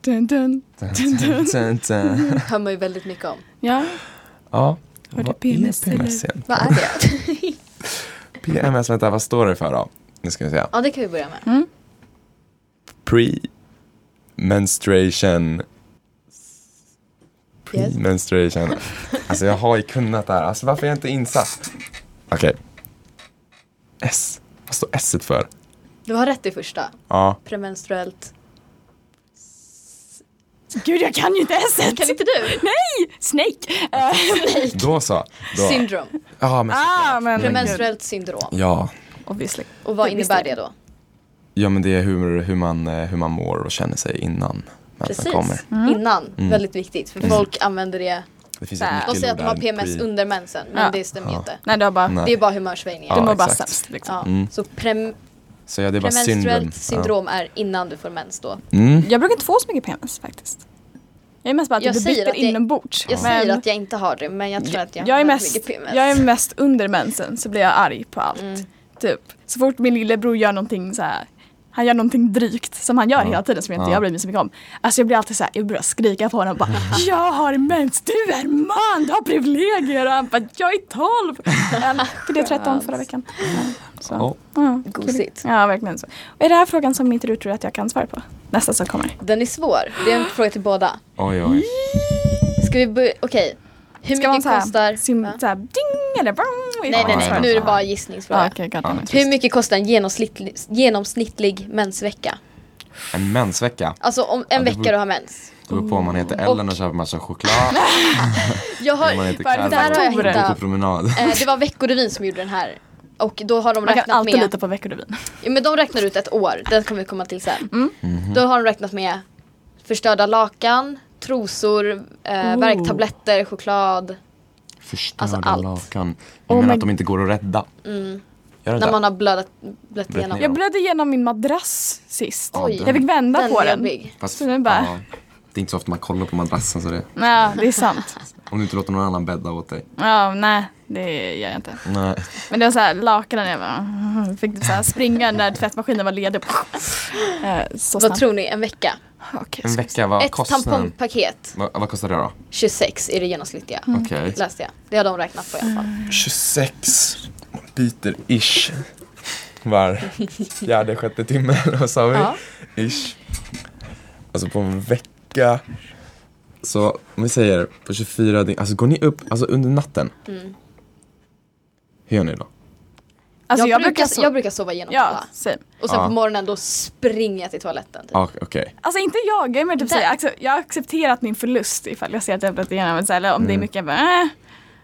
Dun, dun.
Tun, tun.
Hör man ju väldigt mycket om.
Ja.
(laughs) ja.
Var det
Vad
PMS
är
eller?
PMS igen?
Vad är det?
PMS, vänta, vad står det för då? Nu ska vi se.
(laughs) ja, det kan vi börja med.
Mm.
Pre-menstruation.
Yes.
Pre-menstruation. Alltså jag har ju kunnat det här. Alltså varför är jag inte insatt? Okej. S. Vad står S för?
Du har rätt i första.
Ja.
Premenstruellt.
Gud jag kan Ah, ju inte ens ett.
Kan inte du?
Nej! (laughs) Snake!
Då så. Då.
Syndrom.
Ja, men
ah men gud.
Premenstruellt syndrom.
Ja,
Obviously.
Och vad
Det visste
innebär det
jag.
då?
ja men det är hur, hur, man, eh, hur man mår och känner sig innan mensen
Precis.
kommer.
Mm.
Mm.
Innan. Väldigt viktigt. För folk använder det.
Det finns
Där.
ett
De
nyckelord
säger att de har
där.
PMS
Pre-
under mensen. Men
Ja.
det stämmer ju inte.
Nej du har bara,
Nej.
Det är bara humörsvängningar.
du
Ja,
mår bara
exakt.
sämst liksom.
Ja.
Mm.
Så prem,
Så ja, det är bara syndrom.
Premenstruellt syndrom är innan du får mens då.
Ja. Mm.
Jag brukar inte få så mycket PMS faktiskt. Jag är mest bara att
Jag
det
säger
biter
att jag-
inombords.
Jag
Men
säger att jag inte har det men jag tror att jag,
jag, är
har
mest,
mycket PMS.
jag är mest under mensen så blir jag arg på allt.
Mm.
Typ. Så fort min lillebror gör någonting så här. Han gör någonting drygt som han gör
Ja.
hela tiden som jag inte
Ja.
jag bryr mig så mycket om. Alltså jag blir alltid så här, jag börjar skrika på
(laughs)
honom bara Jag har mens, du är man, du har privilegier! Och han bara, jag är 12! Eller, blev 13 förra veckan. Så.
Ja.
Ja,
Gosigt.
Ja, verkligen så. Och är det här frågan som inte du tror att jag kan svara på? Nästa som kommer.
Den är svår. Det är en fråga till båda.
Oj, oj.
Ska vi börja? Okej. Hur
Ska man
mycket
så här,
kostar...
sim,
Va?
så här, ding eller bong?
Nej, nej,
Ja,
nej.
ja,
Nu är det
ja.
bara
Ah,
gissningsfråga.
okay,
Ja.
Hur mycket kostar en genomsnittlig, genomsnittlig mensvecka?
En mensvecka.
Alltså om en
det
vecka
beror-
du har mens.
Det beror på om man heter Ellen och köper massa choklad.
Jag har,
Om man heter
varför
Kalle
där har jag
Tore?
och går på
hittat,
promenad.
eh, det var Veckorevyn som gjorde den här. Och då har de
Man kan
räknat
alltid
med,
lita på Veckorevyn.
ja, men de räknar ut ett år, den kommer vi komma till sen.
Mm.
Mhm.
Då har de räknat med förstörda lakan, trosor, eh,
Oh.
värktabletter, choklad.
Förstörda
Alltså allt.
lakan.
Oh
Jag menar
my-
att de inte går att rädda. Gör
När
det där?
man har blödat, blött
Blött
igenom.
ner.
Jag blödde igenom min madrass sist.
Ja,
Oj.
Jag fick vända
Den
på
är
den.
jobbig.
Fast,
Så nu bara-
ja, det är inte så ofta man kollar på madrassen så det,
Ja, det är sant.
om du inte låter någon annan bädda åt dig.
Ja, nej, det gör jag inte.
Nej.
Men det var så här lakanen, jag bara, mm, (laughs) fick så här springa när tvättmaskinen var ledig. Eh, Så
Vad
snabbt.
tror ni, en vecka?
Okej,
En vecka, vad
Ett
kostar den?
tampongpaket,
Vad, vad kostar det
Mm.
då?
26 är det genomsnittliga.
Okej.
Läste jag. Det har de räknat på i alla fall.
26 biter ish. Var fjärde, sjätte timme eller vad sa vi?
Ja.
Ish. Alltså på en vecka. Så om vi säger på 24 dygn, alltså går ni upp alltså under natten?
Mm.
Hur gör ni då?
Alltså,
jag, brukar,
so-
jag brukar sova genom
Ja,
alla.
same.
Och sen
Ja.
på morgonen då springer jag till toaletten. Typ.
Ah, Okej.
Alltså inte jag, jag är mer typ
Där.
såhär, acce- jag har accepterat min förlust ifall jag ser att jag blött igenom ett eller om
Mm.
det är mycket, jag bara, äh.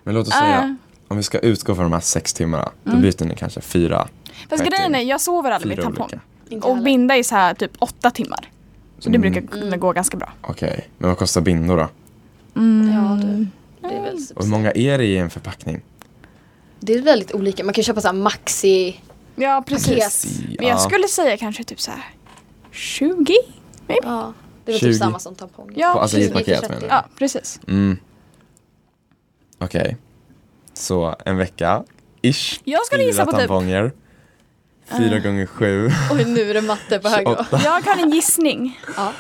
Men låt oss
Ah, Mm.
säga, om vi ska utgå från de här sex timmarna, då byter ni kanske fyra.
Fast
Verkligen.
grejen är, jag sover aldrig med
Fyra
tampong.
olika.
Inte
Och
heller.
binda är så här typ åtta timmar. Så det
Mm.
brukar kunna gå ganska bra.
Okej, men vad kostar bindor då?
Ja, du. Det, är väl,
Mm.
typ-
Och hur många är det i en förpackning?
det är väldigt olika. Man kan köpa så här maxi.
Ja, precis.
Precis,
Men jag
ja.
skulle säga kanske typ så här 20?
Ja, det är väl
20.
typ samma som tamponger.
Ja,
På- alltså i ett
20 till
paket
30.
menar
Ja, precis.
Mm. Okej. Så en vecka, ish.
Jag skulle
fyra
gissa på typ- Ah.
tamponger. Fyra gånger sju.
(laughs) Oj, nu är det matte på höger.
Åtta.
Jag har en gissning.
Ja.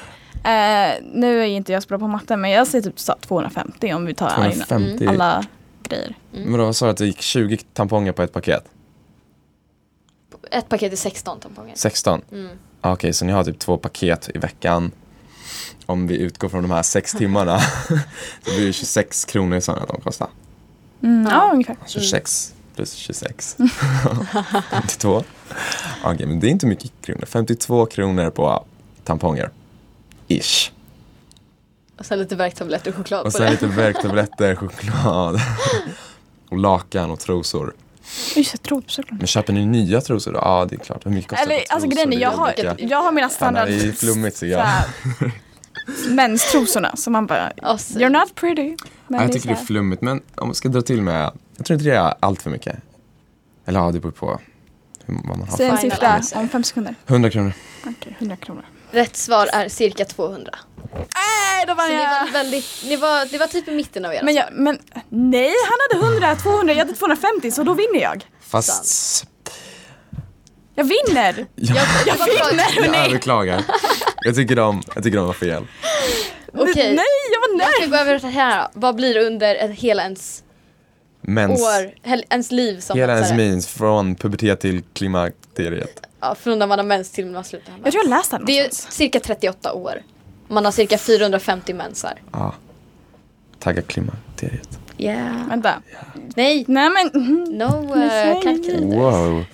Eh, nu är inte jag så bra på matte men jag säger typ så här 250 om vi tar alla-
250.
Mm. alla grejer.
Men då sa du att det gick 20 tamponger på ett paket?
Ett paket är 16 tamponger.
16?
Mm.
Okej, så ni har typ två paket i veckan. Om vi utgår från de
(laughs)
här sex timmarna. (laughs) det blir det 26 kronor sa ni att de kostar.
Mm, ja. ungefär.
26
(laughs)
plus 26. 52. Okej, men det är inte mycket kronor. 52 kronor på tamponger. Ish.
Och sen lite värktabletter och choklad
Och
på
sen
det.
lite värktabletter, choklad (laughs) och lakan och trosor.
Just det, trosor.
Men köper ni nya trosor då? Ja, det är klart. Hur mycket kostar typ
Eller
ett par
alltså
trosor?
grejen är,
Det
jag har,
olika.
jag har mina
Fan, det
standard
här är ju flummigt tycker
så
jag.
här, menstrosorna som man bara
Och sen-
You're not pretty. Men
Ja,
är
jag tycker det är
så här-
flummigt, men om jag ska dra till med, jag tror inte det är allt för mycket. Eller ja, det beror på hur, vad man
Säg
har för.
en
Final
siffra
answer.
om fem sekunder.
100 kronor.
Okej, 100 kronor.
Rätt svar är cirka 200.
Nej, då
Så
vann
ni
jag!
var väldigt, ni var, det var typ i mitten av era
Men, jag, men nej, han hade 100, 200, jag hade 250 så då vinner jag.
Fast
Jag vinner!
jag,
jag vinner!
(laughs)
jag överklagar. Jag tycker de, jag tycker de var fel.
Okej.
Nej, jag var
Jag ska
nöjd!
gå över till det här då. Vad blir det under ett, hela ens
Mens,
år, hel, ens liv som
hela ens
dansare?
mins, från pubertet till klimakteriet.
Ja, från när man har mens till när man slutar ha
Jag
mens.
tror jag läste den
Det är ju
någonstans.
cirka 38 år. Man har cirka 450 mensar.
Ja. Tagga klimakteriet.
Yeah.
Vänta.
Nej,
Nej men, mhm,
no uh,
Men säg-
calculators.
Wow.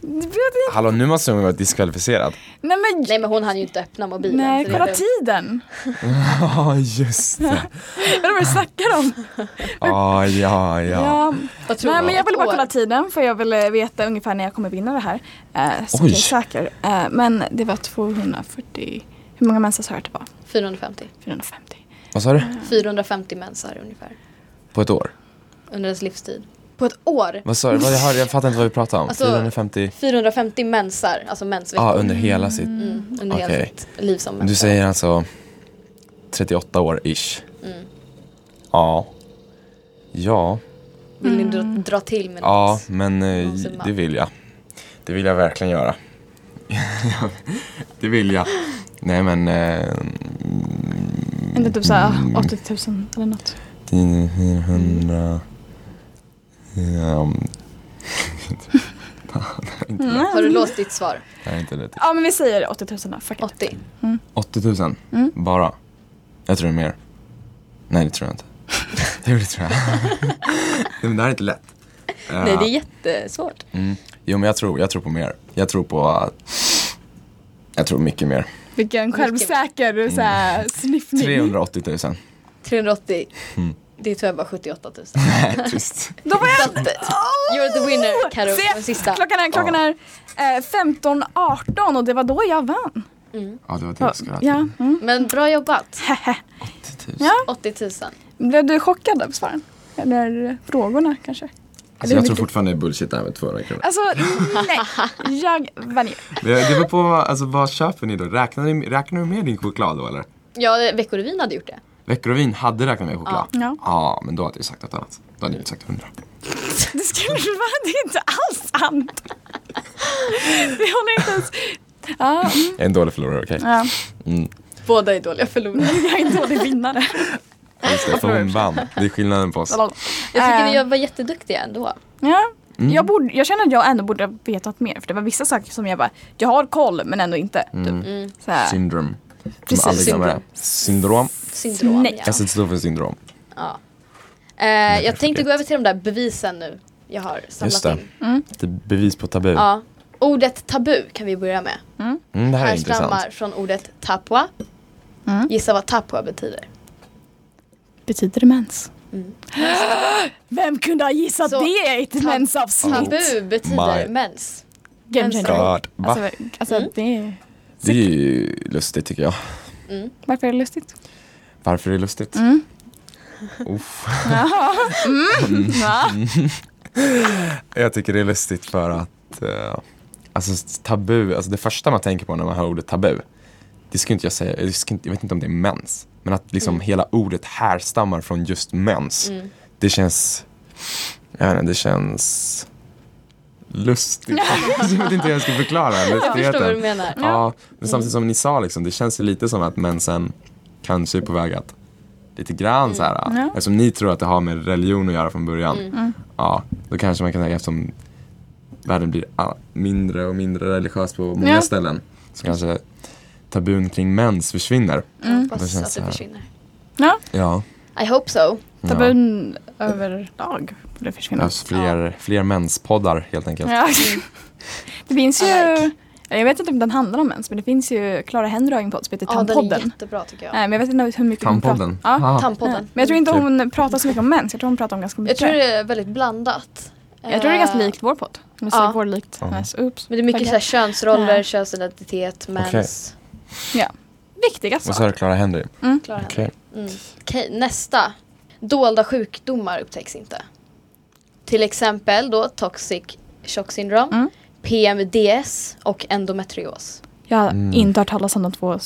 det vet
Hallå, nu måste hon vara diskvalificerad.
jag- Nej men,
Nej men hon hann ju inte öppna mobilen.
nej
så
kolla
det är-
tiden.
Ja, just det.
Vad var det du snackade om?
Ah, (laughs) ja, ja.
Ja.
Vad tror
Nej
du?
men jag ville bara
Ett år.
kolla tiden för jag ville veta ungefär när jag kommer vinna det här. Eh, Så
Oj.
jag är säker. Eh, Men det var 240, hur många mensar sa jag att det var?
450.
450.
Vad sa du?
450 mensar ungefär.
På ett år?
Under ens livstid. På ett år.
Vad sa du? Vad- Jag, hörde- jag fattar inte vad vi pratade om.
Alltså-
450?
450 mensar, alltså mensveckor.
Ja, Ah, under hela sitt...
Mm, under hela
Okej.
sitt liv som
Du
människa.
säger alltså 38 år ish.
Mm.
Ja. Ja,
Vill ni dra, dra till med
ja
något?
men eh,
Någonsin va?
det vill jag. Det vill jag verkligen göra. (laughs) det vill jag. Nej men... Eh,
Inte typ såhär 80 000 eller något.
10, 400... Ja, (laughs) Mm.
Har du låst ditt svar?
nej, inte det.
Mm. Ja men vi säger 80 000 då, fuck it.
80?
80 000?
Mm.
Bara? Jag tror det är mer. Nej, det tror jag inte. Jo, det (laughs) tror jag. Men det här är inte lätt.
Nej, det är
Eh,
jättesvårt.
mm. Jo, men jag tror, jag tror på mer. Jag tror på... eh, jag tror mycket mer.
Vilken självsäker såhär, sniffning.
380 000.
380?
Mm.
Det tror jag bara 78 000.
Nej, (laughs) trist.
Då var jag...
Så att, You're the winner, Karo,
Se,
den sista.
Klockan är, klockan är eh, 15.18 och det var då jag vann.
Ja, det var det jag skulle ha till.
Ja. Mm.
Mm. Men bra jobbat.
80 000.
Ja.
80 000.
Blev du chockad av svaren? Eller frågorna kanske?
Alltså, jag tror
mycket.
fortfarande det är bullshit det här med 200 kronor.
Alltså nej, jag vann ju.
Det det var på, alltså vad köper ni då? Räknar, ni, räknar du med din choklad då eller?
Ja, Veckorevyn hade gjort det.
Veckorevyn hade räknat med choklad.
Ja.
ja, men då hade jag sagt något annat. Då hade jag inte sagt 100.
Det skulle du vara, det är inte alls sant. Det håller inte ens... Ja, mm,
Jag är en dålig förlorare, okej?
ja.
Mm.
Båda är dåliga förlorare.
Jag är en dålig vinnare.
Just det, för hon vann. Det är skillnaden
(laughs)
på oss.
Jag
Jag tycker
Eh.
ni var jätteduktiga ändå.
Mm.
Eh, Ja. Jag, borde, jag känner att jag ändå borde ha vetat mer för det var vissa saker som jag bara, jag har koll men ändå inte.
Mm.
Typ.
Mm.
Så här.
Syndrom.
Precis,
syndrom.
syndrom.
Syndrom.
Syndrom.
Nej.
Ja.
Esset står för syndrom.
Ja. Eh, jag tänkte gå över till de där bevisen nu. Jag har
Just
samlat
det.
in.
Mm.
Lite bevis på tabu.
Ja. Ordet tabu kan vi börja med.
Mm, det här är intressant.
Härstammar från ordet tapua.
Mm.
Gissa vad tapua betyder.
Betyder det mens?
Mm.
(gasps) Vem kunde ha gissat
Så-
det i ett
Tab-
mensavsnitt?
Tabu betyder
My.
mens.
Game
Mens-
changer.
God. Va?
Alltså, alltså
Mm.
det är,
Det är ju lustigt tycker jag.
varför är det lustigt?
Varför är det lustigt?
Mm. (laughs)
Uff.
Mm.
Mm.
Ja.
Jag tycker det är lustigt för att eh, alltså, tabu, alltså det första man tänker på när man hör ordet tabu, det skulle inte jag säga, jag, skulle inte, jag vet inte om det är mens, men att liksom hela ordet härstammar från just
Mm.
mens, det känns, jag vet inte, det känns lustigt. jag vet inte hur jag ska förklara
Jag förstår vad du
lustigheten.
menar.
Ja, men samtidigt som ni sa, liksom, det känns ju lite som att mensen kanske är på väg att lite grann så här.
Ja.
Eftersom ni tror att det har med religion att göra från början.
Mm.
Mm.
Ja, Mm. då kanske man kan säga eftersom världen blir all- mindre och mindre religiös på många
Ja.
ställen. Så kanske tabun kring mens försvinner.
Jag
Det
hoppas
känns
att
så
det
här.
försvinner.
ja.
Ja.
I hope so.
ja. Alltså,
Tabun överlag borde
Det
försvinna.
behövs fler, fler menspoddar helt enkelt.
Ja. (laughs) Det finns ju,
I like.
jag vet inte om den handlar om ens men det finns ju Klara Henry har ju en podd som heter
Ja, den är
Tandpodden.
jättebra tycker jag.
Nej, men jag vet inte hur mycket hon
Tandpodden.
pratar. Ja.
Ah.
Tandpodden.
Men jag tror inte hon pratar så mycket om mens, jag tror hon pratar om ganska
Jag
mycket.
tror det är väldigt blandat. Eh,
jag tror det är ganska likt vår podd. Nu säger
Ja.
vår likt
Ja.
hennes. Oops.
Men det är mycket
Okej.
så här, könsroller,
Ja.
könsidentitet, mens.
Ja. Viktiga
Vad sa du
saker.
Clara Henry?
Klara henne.
Okej.
Mm. Okej, nästa. Dolda sjukdomar upptäcks inte. Till exempel då toxic shock syndrom,
Mm.
PMDS och endometrios.
Jag har
Mm.
inte hört talas om de två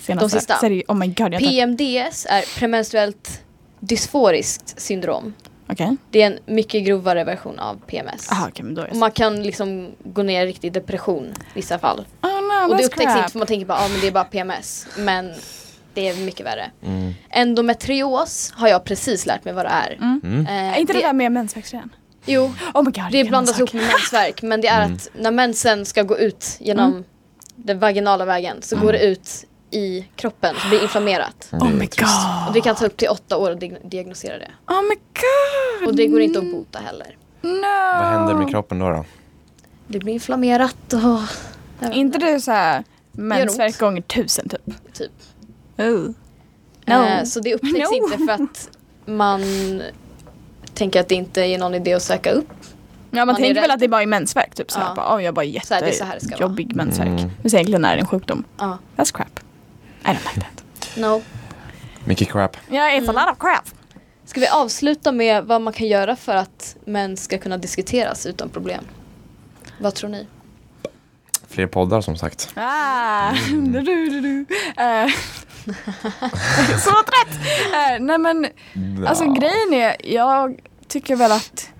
senaste.
De sista.
Seri- oh my god. Jag har inte-
PMDS är premenstruellt dysforiskt syndrom.
Okej.
Det är en mycket grovare version av PMS.
Aha, okej, men då är
Och
det
man kan liksom gå ner i riktig depression i vissa fall.
Oh no,
Och det
that's
upptäcks
crap.
inte för man tänker bara ah, men det är bara PMS. Men det är mycket värre.
Mm.
Endometrios har jag precis lärt mig vad det är.
Mm.
Eh,
Är inte det,
det-
där med mensväxter igen?
Jo,
Oh my god.
det
vilken
blandas
sak.
ihop med mensvärk. Men det är
Mm.
att när mensen ska gå ut genom den vaginala vägen så går det ut i kroppen. Så blir det inflammerat.
Det är
Mm. Oh my
trist.
god.
Och det kan ta upp till åtta år att diag- diagnosera det.
Oh my god.
Och det går inte att
Mm.
bota heller.
No.
Vad händer med kroppen då? då?
Det blir inflammerat och...
Inte du såhär mensvärk
ont.
gånger tusen typ?
Typ.
Uh. No.
Eh, så det upptäcks
No.
inte för att man tänker att det inte är någon idé att söka upp.
ja
man är
man tänker
rädd.
väl att det bara är mensvärk typ såhär.
Ja.
Bara, oh, jag bara
Så här, det är så här det ska vara.
jättejobbig mensvärk.
Mm.
Men så egentligen är det en sjukdom.
Ja.
That's crap. I don't like that.
No.
Mycket crap.
Mm.
Ja, yeah, it's a lot of crap.
Ska vi avsluta med vad man kan göra för att män ska kunna diskuteras utan problem? Vad tror ni?
Fler poddar som sagt.
Ah, du, du, du. (laughs) Eh, (laughs) så trött! Eh, nej men Alltså grejen är, jag tycker väl att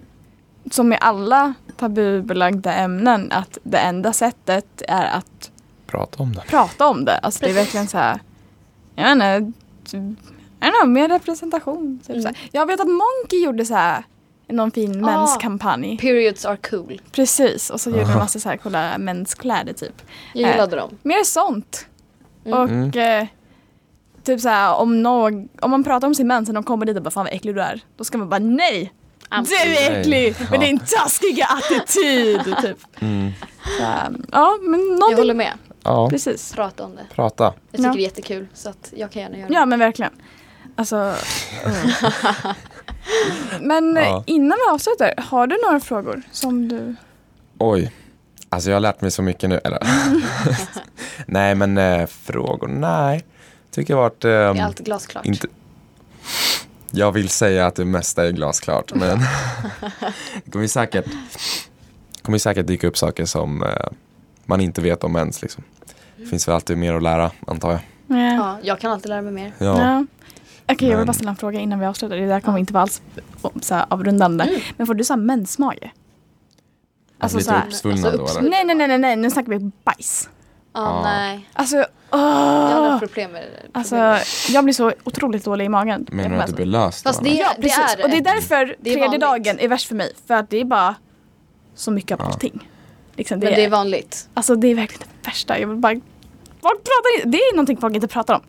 som med alla tabubelagda ämnen att det enda sättet är att
Prata om det.
prata om det. Alltså det är verkligen så här, jag vet inte, typ- jag vet inte, mer representation. Typ så här. Jag vet att Monkey gjorde så här någon fin
Mm. Ah.
menskampanj.
Periods are cool.
Precis, och så gjorde de massa så här coola menskläder typ.
Jag gillade dem.
Mer sånt.
Mm.
Och eh, typ så här om, någ, om man pratar om sin mens och de kommer dit och bara fan vad äcklig du är. Då ska man bara nej! Du är
Nej.
äcklig med din taskiga attityd! Typ. Så, ähm, ja, men
Jag håller
någonting.
med.
Mm. Ja,
Precis.
Prata om det.
prata.
Jag tycker
Ja.
det är jättekul så att jag kan gärna göra det.
Ja, men verkligen. Alltså... mm. Men eh,
Ja.
innan vi avslutar, har du några frågor som du...
Oj. Alltså jag har lärt mig så mycket nu. Eller? (laughs) nej, men eh, frågor? Nej. Tycker jag varit...
Det är
ehm,
allt glasklart.
inte... Jag vill säga att det mesta är glasklart, men det kommer ju säkert, kommer ju säkert dyka upp saker som eh, man inte vet om ens. Liksom. Det finns väl alltid mer att lära, antar jag.
Ja.
Ja, jag kan alltid lära mig mer.
Ja.
Ja. Okej, jag vill
Men-
bara ställa en fråga innan vi avslutar. Det där kommer inte vara alls oh, så här, avrundande. Men får du så här mensmage? Alltså
lite
så här-
uppsvullna
Alltså,
då, eller?
uppsvull-
Nej, nej, nej, nej, nej, nu snackar vi bajs.
Ah,
Ja.
Nej,
Alltså,
jag har
åh!
haft problem med det.
Ah. Alltså,
Problem med
jag blir så otroligt dålig i magen.
Menar du att det blir löst?
Fast
då,
det-
eller?
Ja, precis.
det är-
och det är därför
det är
tredje
vanligt.
dagen är värst för mig. För att det är bara så mycket av
Ja.
allting. Liksom,
det.
det,
Men det är
är,
vanligt.
alltså, det är verkligen det värsta. Jag vill bara... Folk pratar, inte- det är någonting folk inte pratar om.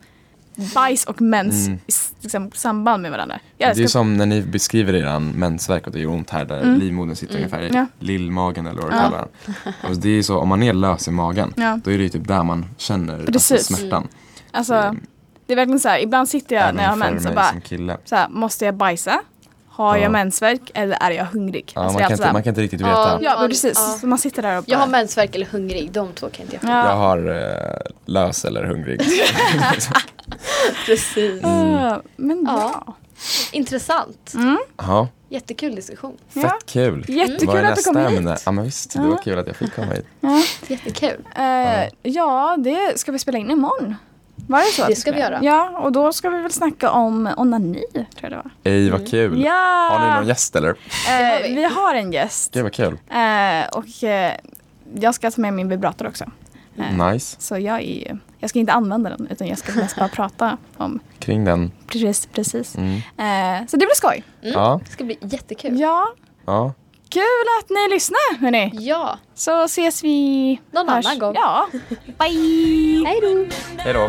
Bajs och mens
Mm.
i s- liksom, samband med varandra.
Det
Jag
är ju
älskar
som när ni beskriver er mensvärk och det gör ont här där livmodern sitter ungefär i
Mm. Ja.
lillmagen eller vad du
Ja.
kallar den.
(laughs)
Alltså, det är ju så, om man är lös i magen,
Ja.
då är det ju typ där man känner alltså,
Precis.
smärtan.
Alltså, det är verkligen så här, ibland sitter jag
Mm. Även
när jag har
för
mens och
mig
bara,
som kille.
så här, måste jag bajsa? Har
Ja.
jag mensvärk eller är jag hungrig?
Ja,
Alltså,
man,
det är
kan
alltid så
inte,
här-
man kan inte riktigt
Ja,
veta.
Ja, men precis.
Ja.
Så man sitter där och bara...
Jag har mensvärk eller hungrig, de två kan inte jag
Ja.
Jag har eh, lös
(laughs)
eller hungrig.
Precis.
Ah, Men
Ja.
ja.
Intressant.
Ja,
Jättekul diskussion.
Ja.
fett kul.
Jättekul
Vad är
att du
nästa
kom hit.
ämne? Ja men visst, det
Ja.
var kul att jag fick komma hit.
Ja.
Jättekul.
Eh, ja, det ska vi spela in imorgon. Var det så? att
Det
vi
ska vi göra.
Ja, och då ska vi väl snacka om onani, tror jag det var.
Ej vad kul.
Mm. Ja!
Har ni någon gäst eller?
Eh,
har vi.
vi. har en gäst.
Gud vad kul.
Eh, och eh, jag ska ta med min vibrator också. Eh,
Nice.
Så jag, är, jag ska inte använda den, utan jag ska mest bara prata om
Kring den.
precis. precis.
Mm.
Eh, så det blir skoj.
Ja,
Det ska bli jättekul.
Ja,
ja.
kul att ni lyssnar, hörni.
Ja,
Så ses vi...
Någon
hörs-
annan gång.
Ja. Bye!
(laughs) hej då.
Hej då.